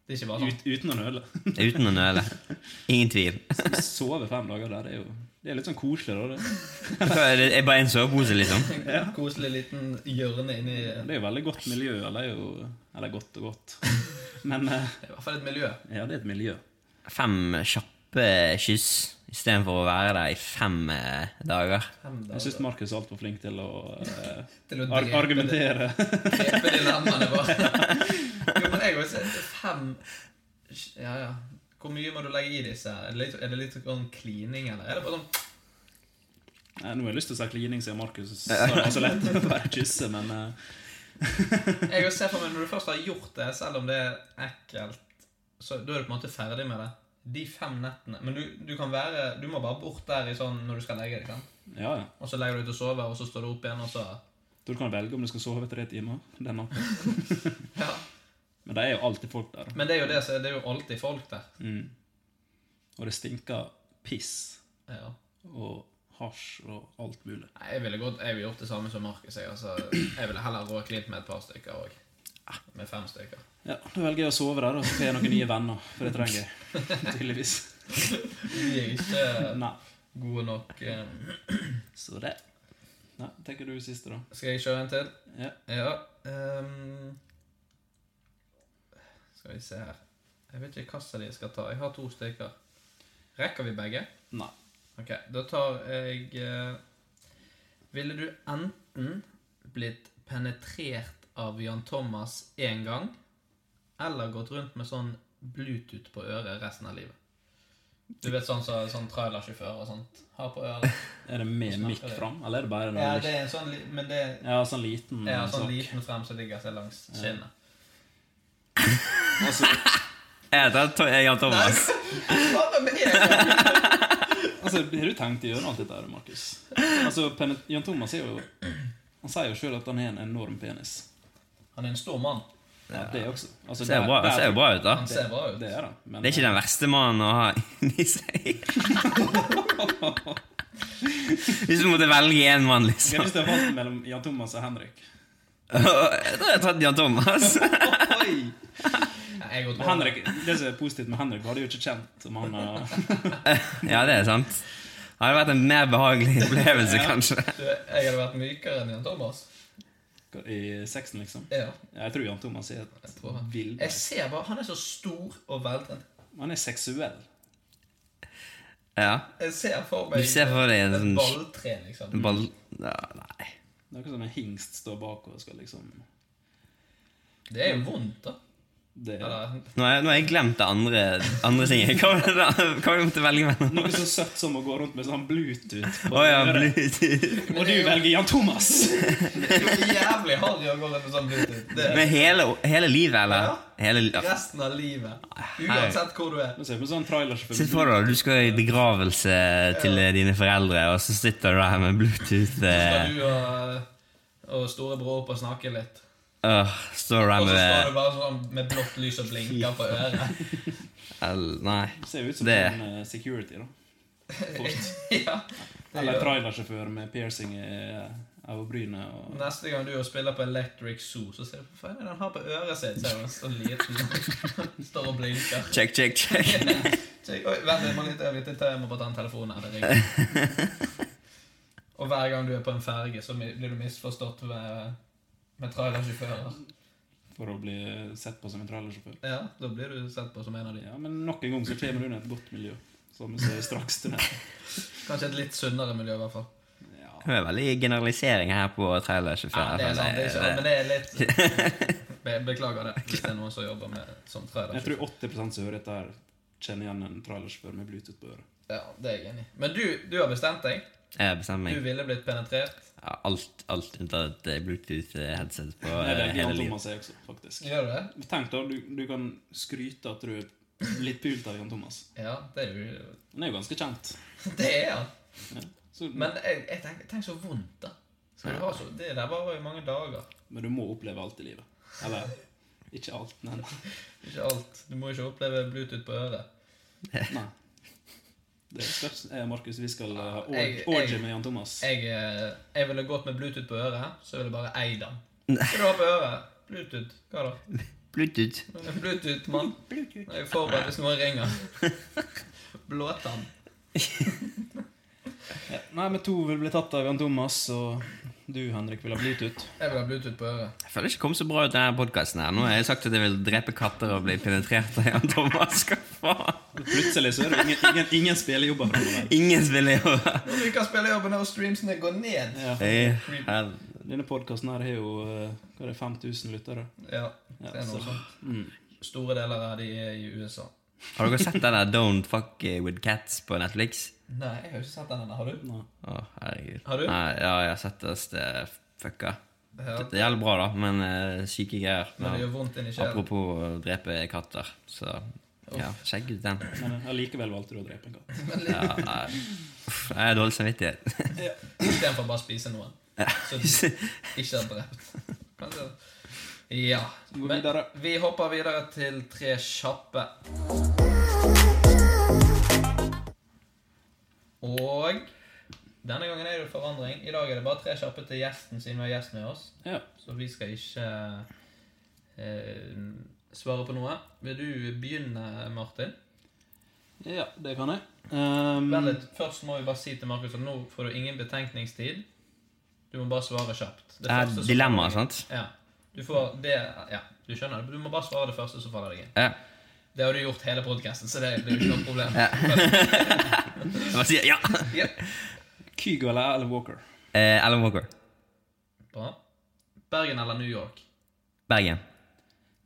Speaker 3: Det er ikke
Speaker 5: Altså-
Speaker 4: Ut, uten å nøle.
Speaker 5: Uten å nøle. Ingen tvil.
Speaker 4: Sove fem dager der er jo Det er litt sånn koselig, da. Det.
Speaker 5: Hva Er det er bare en sovepose, liksom?
Speaker 3: En sånn Koselig liten hjørne inni
Speaker 4: det er jo veldig godt miljø. Eller, er jo, eller godt og godt. Men eh,
Speaker 3: Det er i hvert fall et miljø.
Speaker 4: ja, det er et miljø.
Speaker 5: Fem kjappe kyss istedenfor å være der i fem eh, dager.
Speaker 4: Jeg syns Markus er altfor flink til å, eh,
Speaker 3: Til å
Speaker 4: ar
Speaker 3: drepe
Speaker 4: argumentere.
Speaker 3: Drepe dilemmaene bare. Jo, men jeg også fem Ja, ja. Hvor mye må du legge i disse? her? Er det litt, er det litt sånn klining, eller? Er det bare sånn
Speaker 4: Nei, nå har jeg lyst til å si klining, siden Markus sa det var så lett å bare kysse, men eh,
Speaker 3: Jeg også ser for meg Når du først har gjort det, selv om det er ekkelt, så da er du på en måte ferdig med det. De fem nettene. Men du, du kan være Du må bare bort der i sånn når du skal legge deg. sant?
Speaker 4: ja, ja.
Speaker 3: Og så legger du deg til å sove, og så står du opp igjen, og så
Speaker 4: Du kan velge om du skal sove tre timer den natten.
Speaker 3: Ja.
Speaker 4: Men det er jo alltid folk der.
Speaker 3: Men det er jo det, så det er jo alltid folk der.
Speaker 4: Mm. Og det stinker piss
Speaker 3: Ja.
Speaker 4: og hasj og alt mulig.
Speaker 3: Nei, Jeg ville godt, jeg ville gjort det samme som Markus. Jeg, altså, jeg ville heller råklint med et par stykker òg. Med fem stykker.
Speaker 4: Ja, Da velger jeg å sove der, og så får jeg noen nye venner. For det trenger jeg. Tydeligvis.
Speaker 3: Vi er ikke
Speaker 4: Nei.
Speaker 3: gode nok. eh.
Speaker 4: Så det. Nei, tenker du siste, da?
Speaker 3: Skal jeg kjøre en til?
Speaker 4: Ja.
Speaker 3: ehm, skal vi se her Jeg vet ikke hvilken de skal ta. Jeg har to stykker. Rekker vi begge?
Speaker 4: Nei.
Speaker 3: Ok, Da tar jeg eh, Ville du enten blitt penetrert av Jan Thomas én gang, eller gått rundt med sånn Bluetooth på øret resten av livet? Du vet sånn som sånn trailersjåfører og sånt har på øret.
Speaker 4: Er det med
Speaker 3: Snakker
Speaker 4: mikk
Speaker 3: det.
Speaker 4: fram, eller er det bare
Speaker 3: Ja, det er en sånn, li- men det
Speaker 4: Ja, sånn liten
Speaker 3: Ja, sånn
Speaker 4: sak.
Speaker 3: liten frem som ligger seg langs skinnet.
Speaker 5: Jeg heter To- jeg er Jan Thomas.
Speaker 4: Altså, Har du tenkt å gjøre alt dette, her, Markus? Altså, Pen- Jan Thomas er jo Han sier jo sjøl at han har en enorm penis.
Speaker 3: Han er en stor mann.
Speaker 4: Ja, det også. Altså,
Speaker 5: Ser
Speaker 4: der-
Speaker 5: bra-
Speaker 4: der-
Speaker 5: ser bra ut, da.
Speaker 3: Han ser bra ut.
Speaker 4: Det er det. Men, eh,
Speaker 5: Det er ikke den verste mannen å ha inni seg. Hvis du måtte velge én mann,
Speaker 4: Jeg har
Speaker 5: liksom.
Speaker 4: lyst til å valge mellom Jan Thomas og Henrik.
Speaker 5: Jeg tror jeg har tatt Jan Thomas.
Speaker 3: Jeg går
Speaker 4: Men Henrik. Det som er positivt med Henrik, var det jo ikke kjent om han har
Speaker 5: Ja, det er sant. Det hadde vært en mer behagelig opplevelse,
Speaker 4: Ja.
Speaker 5: kanskje.
Speaker 3: Du, Jeg hadde vært mykere enn Jan Thomas.
Speaker 4: I sexen, liksom.
Speaker 3: Ja.
Speaker 4: Jeg tror Jan Thomas er et
Speaker 3: Jeg
Speaker 4: villbein.
Speaker 3: ser bare, Han er så stor og veltrent.
Speaker 4: Han er seksuell.
Speaker 5: Ja.
Speaker 3: Jeg ser for meg
Speaker 5: Du ser for deg en
Speaker 3: et
Speaker 5: sånn
Speaker 3: balltre, liksom.
Speaker 5: en Ball... Ja, nei.
Speaker 4: Det er ikke sånn en hingst står bak og skal liksom
Speaker 3: Det er jo vondt, da.
Speaker 4: Det,
Speaker 5: Nå har jeg, nå har jeg glemt det andre, andre tinget. Hva var det da? Hva var det jeg måtte velge mellom?
Speaker 4: Noe så søtt som å gå rundt med sånn Bluetooth. på
Speaker 5: Å ja,
Speaker 4: øret.
Speaker 5: Bluetooth.
Speaker 4: Og du velger Jan Thomas!
Speaker 3: Det er jo jævlig harry å gå rundt med sånn Bluetooth. Det
Speaker 5: Men hele, hele livet, eller? Hele,
Speaker 3: er resten av livet. Uansett hvor du er.
Speaker 4: Nå ser vi på sånn trailersjåfør.
Speaker 5: Se for deg, du skal i begravelse til dine foreldre, og så sitter du her med Bluetooth.
Speaker 3: Skal
Speaker 5: Eh,
Speaker 3: du og, og storebror opp og snakke litt.
Speaker 5: øh, står du her
Speaker 3: Og så står
Speaker 5: med
Speaker 3: du bare sånn med blått lys og blinker på øret.
Speaker 5: el- Nei.
Speaker 4: Ser ut som
Speaker 5: Det
Speaker 4: en eh, security, da. Fort.
Speaker 3: ja, det
Speaker 4: Eller
Speaker 3: gjør-
Speaker 4: trailersjåfør med piercing i eh, øyebrynet og
Speaker 3: Neste gang du er og spiller på Electric Zoo, så ser du hva faen er det han har på øret sitt. Ser du, så liten. Står og blinker.
Speaker 5: Check, check, check.
Speaker 3: Ja, check. Oi, vent litt, må litt øyeblikk til. Jeg må bare ta en telefon her. Det ringer. Og hver gang du er på en ferge, så blir du misforstått med, med trailersjåfører.
Speaker 4: for å bli sett på som en trailersjåfør.
Speaker 3: Ja, da blir du sett på som en av de.
Speaker 4: Ja, men nok en gang så kommer du inn i et godt miljø. Som vi ser straks til neste.
Speaker 3: Kanskje et litt sunnere miljø, i hvert fall.
Speaker 5: Det er veldig generalisering her på
Speaker 3: Ja,
Speaker 5: trailersjåfører.
Speaker 3: det er sant, det er sant, men det er litt Be Beklager det, hvis det er noen som jobber med som
Speaker 4: Jeg
Speaker 3: trailersjåfør.
Speaker 4: tror 80 som hører dette, her kjenner igjen en trailersjåfør med Bluetooth på øret.
Speaker 3: Ja, det er jeg enig i. Men du, du har bestemt deg.
Speaker 5: Jeg bestemmer
Speaker 3: Du
Speaker 5: meg.
Speaker 3: ville blitt penetrert.
Speaker 5: Ja, Alt, alt unntatt eh, Bluetooth-headset på
Speaker 4: Jeg
Speaker 5: eh,
Speaker 4: velger
Speaker 5: hele
Speaker 4: Jan Thomas,
Speaker 5: livet.
Speaker 4: jeg også, faktisk.
Speaker 3: Gjør du det?
Speaker 4: Tenk da, du, du kan skryte at du er litt pult av Jan Thomas.
Speaker 3: Ja, det er jo
Speaker 4: Han er jo ganske kjent.
Speaker 3: Det er han.
Speaker 4: Så-
Speaker 3: Men jeg, jeg tenker, tenk så vondt, da. Skal du ha så, det der varer jo i mange dager.
Speaker 4: Men du må oppleve alt i livet. Eller ikke alt, men
Speaker 3: Ikke alt. Du må ikke oppleve Bluetooth på øret.
Speaker 4: Nei. Det er størst. Eh, Markus, vi skal eh, org-
Speaker 3: Jeg-
Speaker 4: orgy
Speaker 3: jeg-
Speaker 4: med Jan Thomas.
Speaker 3: Jeg, eh, jeg ville gått med Bluetooth på øret, så ville jeg bare eid den. Hva skal du ha på øret? Bluetooth. Hva da?
Speaker 5: Bluetooth.
Speaker 3: Bluetooth, mann. Jeg er forberedt hvis noen ringer. Blåtann.
Speaker 4: Ja, Nei, men to vil bli tatt av Jan Thomas, og du, Henrik, vil ha Bluetooth.
Speaker 3: Jeg vil ha Bluetooth på øret.
Speaker 5: Jeg føler ikke kom så bra ut denne podkasten. Nå har jeg sagt at jeg vil drepe katter og bli penetrert av Jan Thomas. Hva faen?
Speaker 4: Plutselig så er det ingen, ingen, ingen spillejobber framover.
Speaker 5: Ingen spiller jo
Speaker 3: Når du ikke spiller jobben, og streamsene går ned.
Speaker 5: Hey,
Speaker 4: Denne podkasten her har jo eh, hva er det, 5000 lyttere.
Speaker 3: Ja, det er
Speaker 4: så-
Speaker 3: noe sånt.
Speaker 4: Mm.
Speaker 3: Store deler av de er i USA.
Speaker 5: Har dere sett den der Don't Fuck With Cats på Netflix?
Speaker 3: Nei, jeg har ikke sett den ennå. Har du?
Speaker 5: Å, herregud.
Speaker 3: Har du?
Speaker 5: Nei, ja, jeg har sett det ste- fucka.
Speaker 3: Ja.
Speaker 5: Det gjelder bra, da, men eh, syke greier.
Speaker 3: Men det gjør vondt inni sjelen.
Speaker 5: Apropos å drepe katter, så ja, sjekk ut den.
Speaker 4: Men eh, allikevel valgte du å drepe en katt.
Speaker 5: Ja, nei. Uff, jeg har dårlig samvittighet.
Speaker 3: Istedenfor bare å spise noen. Så du ikke er drept. Kanskje. Ja. Men vi hopper videre til tre kjappe. Og denne gangen er det forandring. I dag er det bare tre kjappe til gjesten, siden vi har gjest med oss.
Speaker 4: Ja.
Speaker 3: Så vi skal ikke eh, svare på noe. Vil du begynne, Martin?
Speaker 4: Ja, det kan jeg. Ehm,
Speaker 3: Vent litt. Først må vi bare si til Markus at nå får du ingen betenkningstid. Du må bare svare kjapt.
Speaker 5: Det er
Speaker 3: første som-
Speaker 5: Eh, dilemma, sant?
Speaker 3: Ja. Du får det Ja, du skjønner det. Du må bare svare det første som faller deg inn.
Speaker 5: Ja.
Speaker 3: Det har du gjort hele podkasten, så det blir jo ikke noe problem.
Speaker 5: Ja. Jeg bare sier ja.
Speaker 3: ja.
Speaker 4: Kygo eller Alan Walker?
Speaker 5: Eh, Alan Walker.
Speaker 3: Bra. Bergen eller New York?
Speaker 5: Bergen.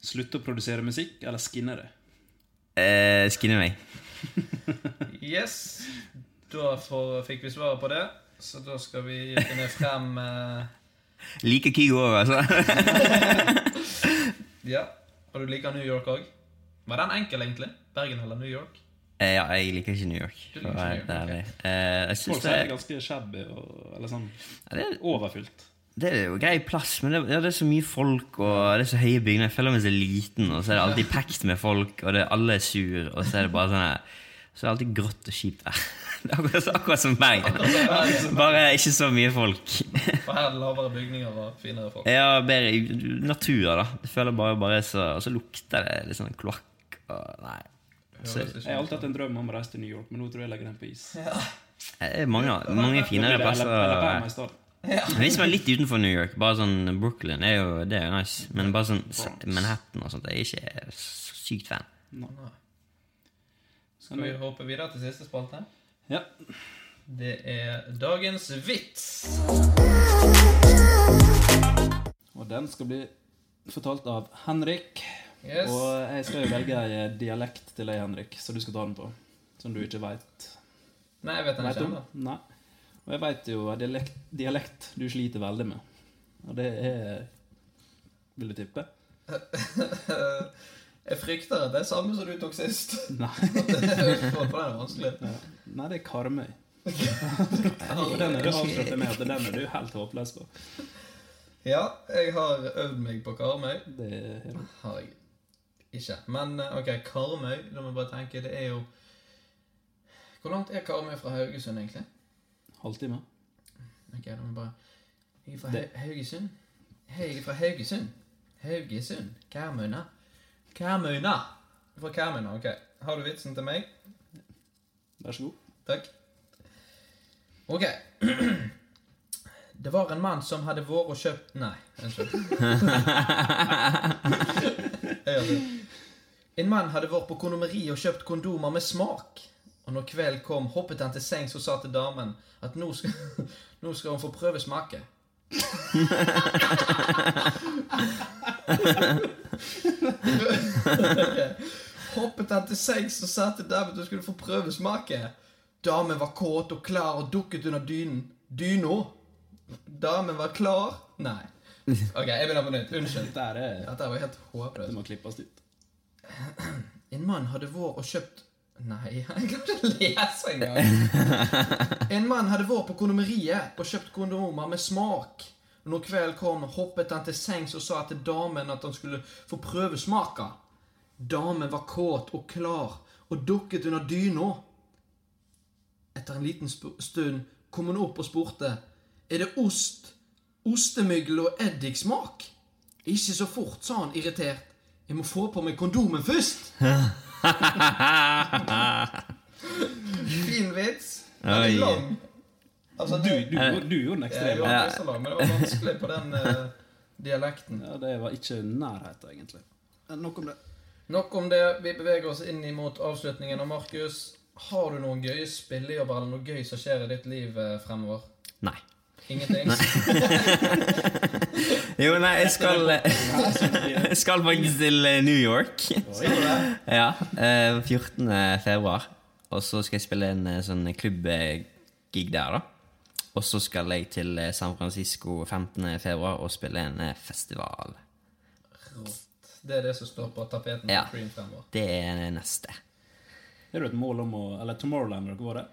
Speaker 4: Slutte å produsere musikk eller skinne det?
Speaker 5: Eh, Skinne meg.
Speaker 3: Yes. Da får, fikk vi svaret på det, så da skal vi finne frem eh,
Speaker 5: Liker Kygo òg, altså.
Speaker 3: Ja. Og du liker New York òg? Var den enkel, egentlig? Bergen eller New York?
Speaker 5: Eh, ja, jeg liker ikke New York.
Speaker 3: Du liker ikke
Speaker 5: for å være
Speaker 3: New York,
Speaker 5: helt ærlig. Eh, jeg
Speaker 4: Folk
Speaker 5: synes det,
Speaker 4: sier det er ganske shabby og eller sånn overfylt.
Speaker 5: det er jo grei plass, men det, ja, det er så mye folk, og det er så høye bygninger. Jeg føler meg så liten, og så er det alltid pekt med folk, og det, alle er sur, og så er det bare sånn her Så er det alltid grått og kjipt der. Det er akkurat, akkurat som Bergen. Bare ikke så mye folk.
Speaker 3: For her er det lavere bygninger og finere folk.
Speaker 5: Ja, bedre i- natur, da. Jeg føler bare, bare så, Og så lukter det litt sånn kloakk og Nei. Så,
Speaker 4: jeg har alltid hatt en drøm om å reise til New York, men nå tror jeg jeg legger den på is.
Speaker 5: det er Eh, mange, mange finere
Speaker 4: Da blir det
Speaker 5: plasser.
Speaker 4: Alabama i stedet.
Speaker 5: Ja. Hvis man er litt utenfor New York, bare sånn Brooklyn, det er jo, det er jo nice. Men bare sånn s- Manhattan og sånt, jeg er ikke s- sykt fan.
Speaker 3: Nei. Skal vi hoppe videre til siste spalte?
Speaker 4: Ja.
Speaker 3: Det er dagens vits.
Speaker 4: Og den skal bli fortalt av Henrik.
Speaker 3: Yes.
Speaker 4: Og jeg skal jo velge ei eh, dialekt til deg, Henrik, som du skal ta den på. Som du ikke veit
Speaker 3: Nei, jeg vet den ikke ennå.
Speaker 4: Nei. Og jeg veit jo en dialekt, dialekt du sliter veldig med. Og det er Vil du tippe?
Speaker 3: Jeg frykter at det er samme som du tok sist.
Speaker 4: Nei.
Speaker 3: At det er på den er vanskelig.
Speaker 4: Nei, det er Karmøy. Og den er du avslørte med at den er du helt håpløs på.
Speaker 3: Ja, jeg har øvd meg på Karmøy.
Speaker 4: Det
Speaker 3: har jeg ikke. Men eh, ok, Karmøy, da må jeg bare tenke, det er jo Hvor langt er Karmøy fra Haugesund, egentlig?
Speaker 4: Halvtime.
Speaker 3: Ok, da må jeg bare Jeg er fra
Speaker 4: Det-
Speaker 3: Hau- Haugesund. Hei, jeg er fra Haugesund. Haugesund. Karmøyna. Karmøyna! Jeg er Fra Karmøyna, ok. Har du vitsen til meg?
Speaker 4: Vær så god.
Speaker 3: Takk. Ok. Det var en mann som hadde vært og kjøpt Nei, unnskyld. Jeg gjør det. en mann hadde vært på kondomeri og kjøpt kondomer med smak. Og når kvelden kom, hoppet han til sengs og sa til damen at nå skal, nå skal hun få prøve smake. Hoppet han til sengs og sa til damen at hun skulle få prøve smaken. Damen var kåt og klar og dukket under dynen. Dyna? Damen var klar Nei. Ok, jeg begynner på nytt. Unnskyld.
Speaker 4: Dette er
Speaker 3: Dette var helt håpløst.
Speaker 4: Det må klippes ut.
Speaker 3: En mann hadde vært og kjøpt Nei, jeg kan ikke lese engang. En mann hadde vært på kondomeriet og kjøpt kondomer med smak. Når kvelden kom, hoppet han til sengs og sa til damen at han skulle få prøve smaka. Damen var kåt og klar og dukket under dyna. Etter en liten sp stund kom hun opp og spurte Er det ost, ostemyggel og eddiksmak? Ikke så fort, sa han irritert. Jeg må få på meg kondomen først! Fin vits. Den er
Speaker 5: Oi.
Speaker 3: lang. Altså,
Speaker 4: du,
Speaker 3: det-
Speaker 4: du, gjorde- du gjorde den
Speaker 3: Ja, jeg
Speaker 4: ekstremt.
Speaker 3: gjorde den ekstra lang, men det var vanskelig på den eh, dialekten.
Speaker 4: Ja, det var ikke nærheten, egentlig. Nok om det.
Speaker 3: Nok om det. Vi beveger oss inn imot avslutningen. Og Markus, har du noen gøye spillejobber eller noe gøy som skjer i ditt liv eh, fremover?
Speaker 5: Nei.
Speaker 3: Ingenting?
Speaker 5: Jo, nei, jeg skal Jeg skal faktisk til eh, New York. Ja, eh, 14. februar. Og så skal jeg spille en eh, sånn klubbgig der, da. Og så skal jeg til eh, San Francisco 15. februar og spille en eh, festival.
Speaker 3: Rått. Det er det som står på tapeten
Speaker 5: Ja.
Speaker 3: på Cream fremover.
Speaker 5: Det er det neste.
Speaker 4: Har du et mål om å Eller Tomorrowland, dere var det?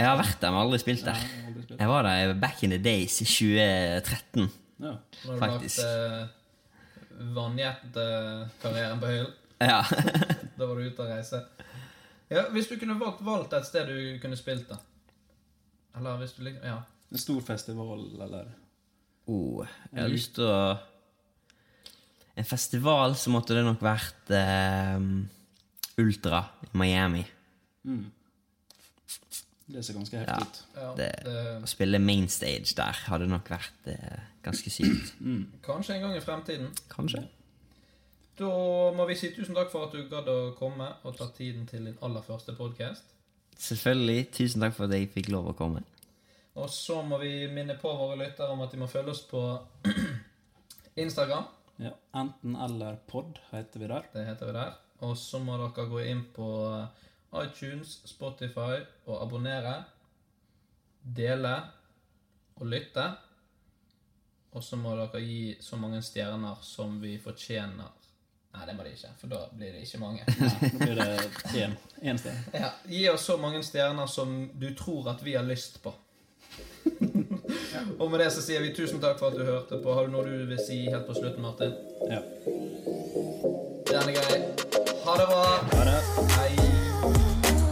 Speaker 5: Jeg har vært der, men aldri spilt der.
Speaker 4: Ja, aldri spilt.
Speaker 5: Jeg var der back in the days i 2013,
Speaker 4: Ja.
Speaker 3: Nå har du lagt
Speaker 5: faktisk.
Speaker 3: eh, vannjetkarrieren på hyllen.
Speaker 5: Ja.
Speaker 3: da var du ute og reise. Ja, hvis du kunne valgt, valgt et sted du kunne spilt, da. Eller hvis du liksom Ja.
Speaker 4: En stor festival, eller?
Speaker 5: Oh, jeg har lyst til å En festival så måtte det nok vært eh, Ultra i Miami.
Speaker 4: Mm. Det ser ganske
Speaker 5: Ja,
Speaker 4: heftig ut.
Speaker 5: det, Å spille mainstage der hadde nok vært eh, ganske sykt.
Speaker 3: Kanskje en gang i fremtiden.
Speaker 5: Kanskje.
Speaker 3: Da må vi si tusen takk for at du gadd å komme og ta tiden til din aller første podkast.
Speaker 5: Selvfølgelig. Tusen takk for at jeg fikk lov å komme.
Speaker 3: Og så må vi minne på våre lyttere om at de må følge oss på Instagram.
Speaker 4: Ja. Enten eller pod heter vi der.
Speaker 3: Det heter vi der. Og så må dere gå inn på iTunes, Spotify og abonnere. Dele og lytte. Og så må dere gi så mange stjerner som vi fortjener. Nei, det må de ikke, for da blir det ikke mange.
Speaker 4: Nå blir det én. Én sted.
Speaker 3: Ja, gi oss så mange stjerner som du tror at vi har lyst på. og med det så sier vi tusen takk for at du hørte på. Har du noe du vil si helt på slutten, Martin?
Speaker 4: Ja.
Speaker 3: Den er grei. Ha det bra. Ha det. Hei.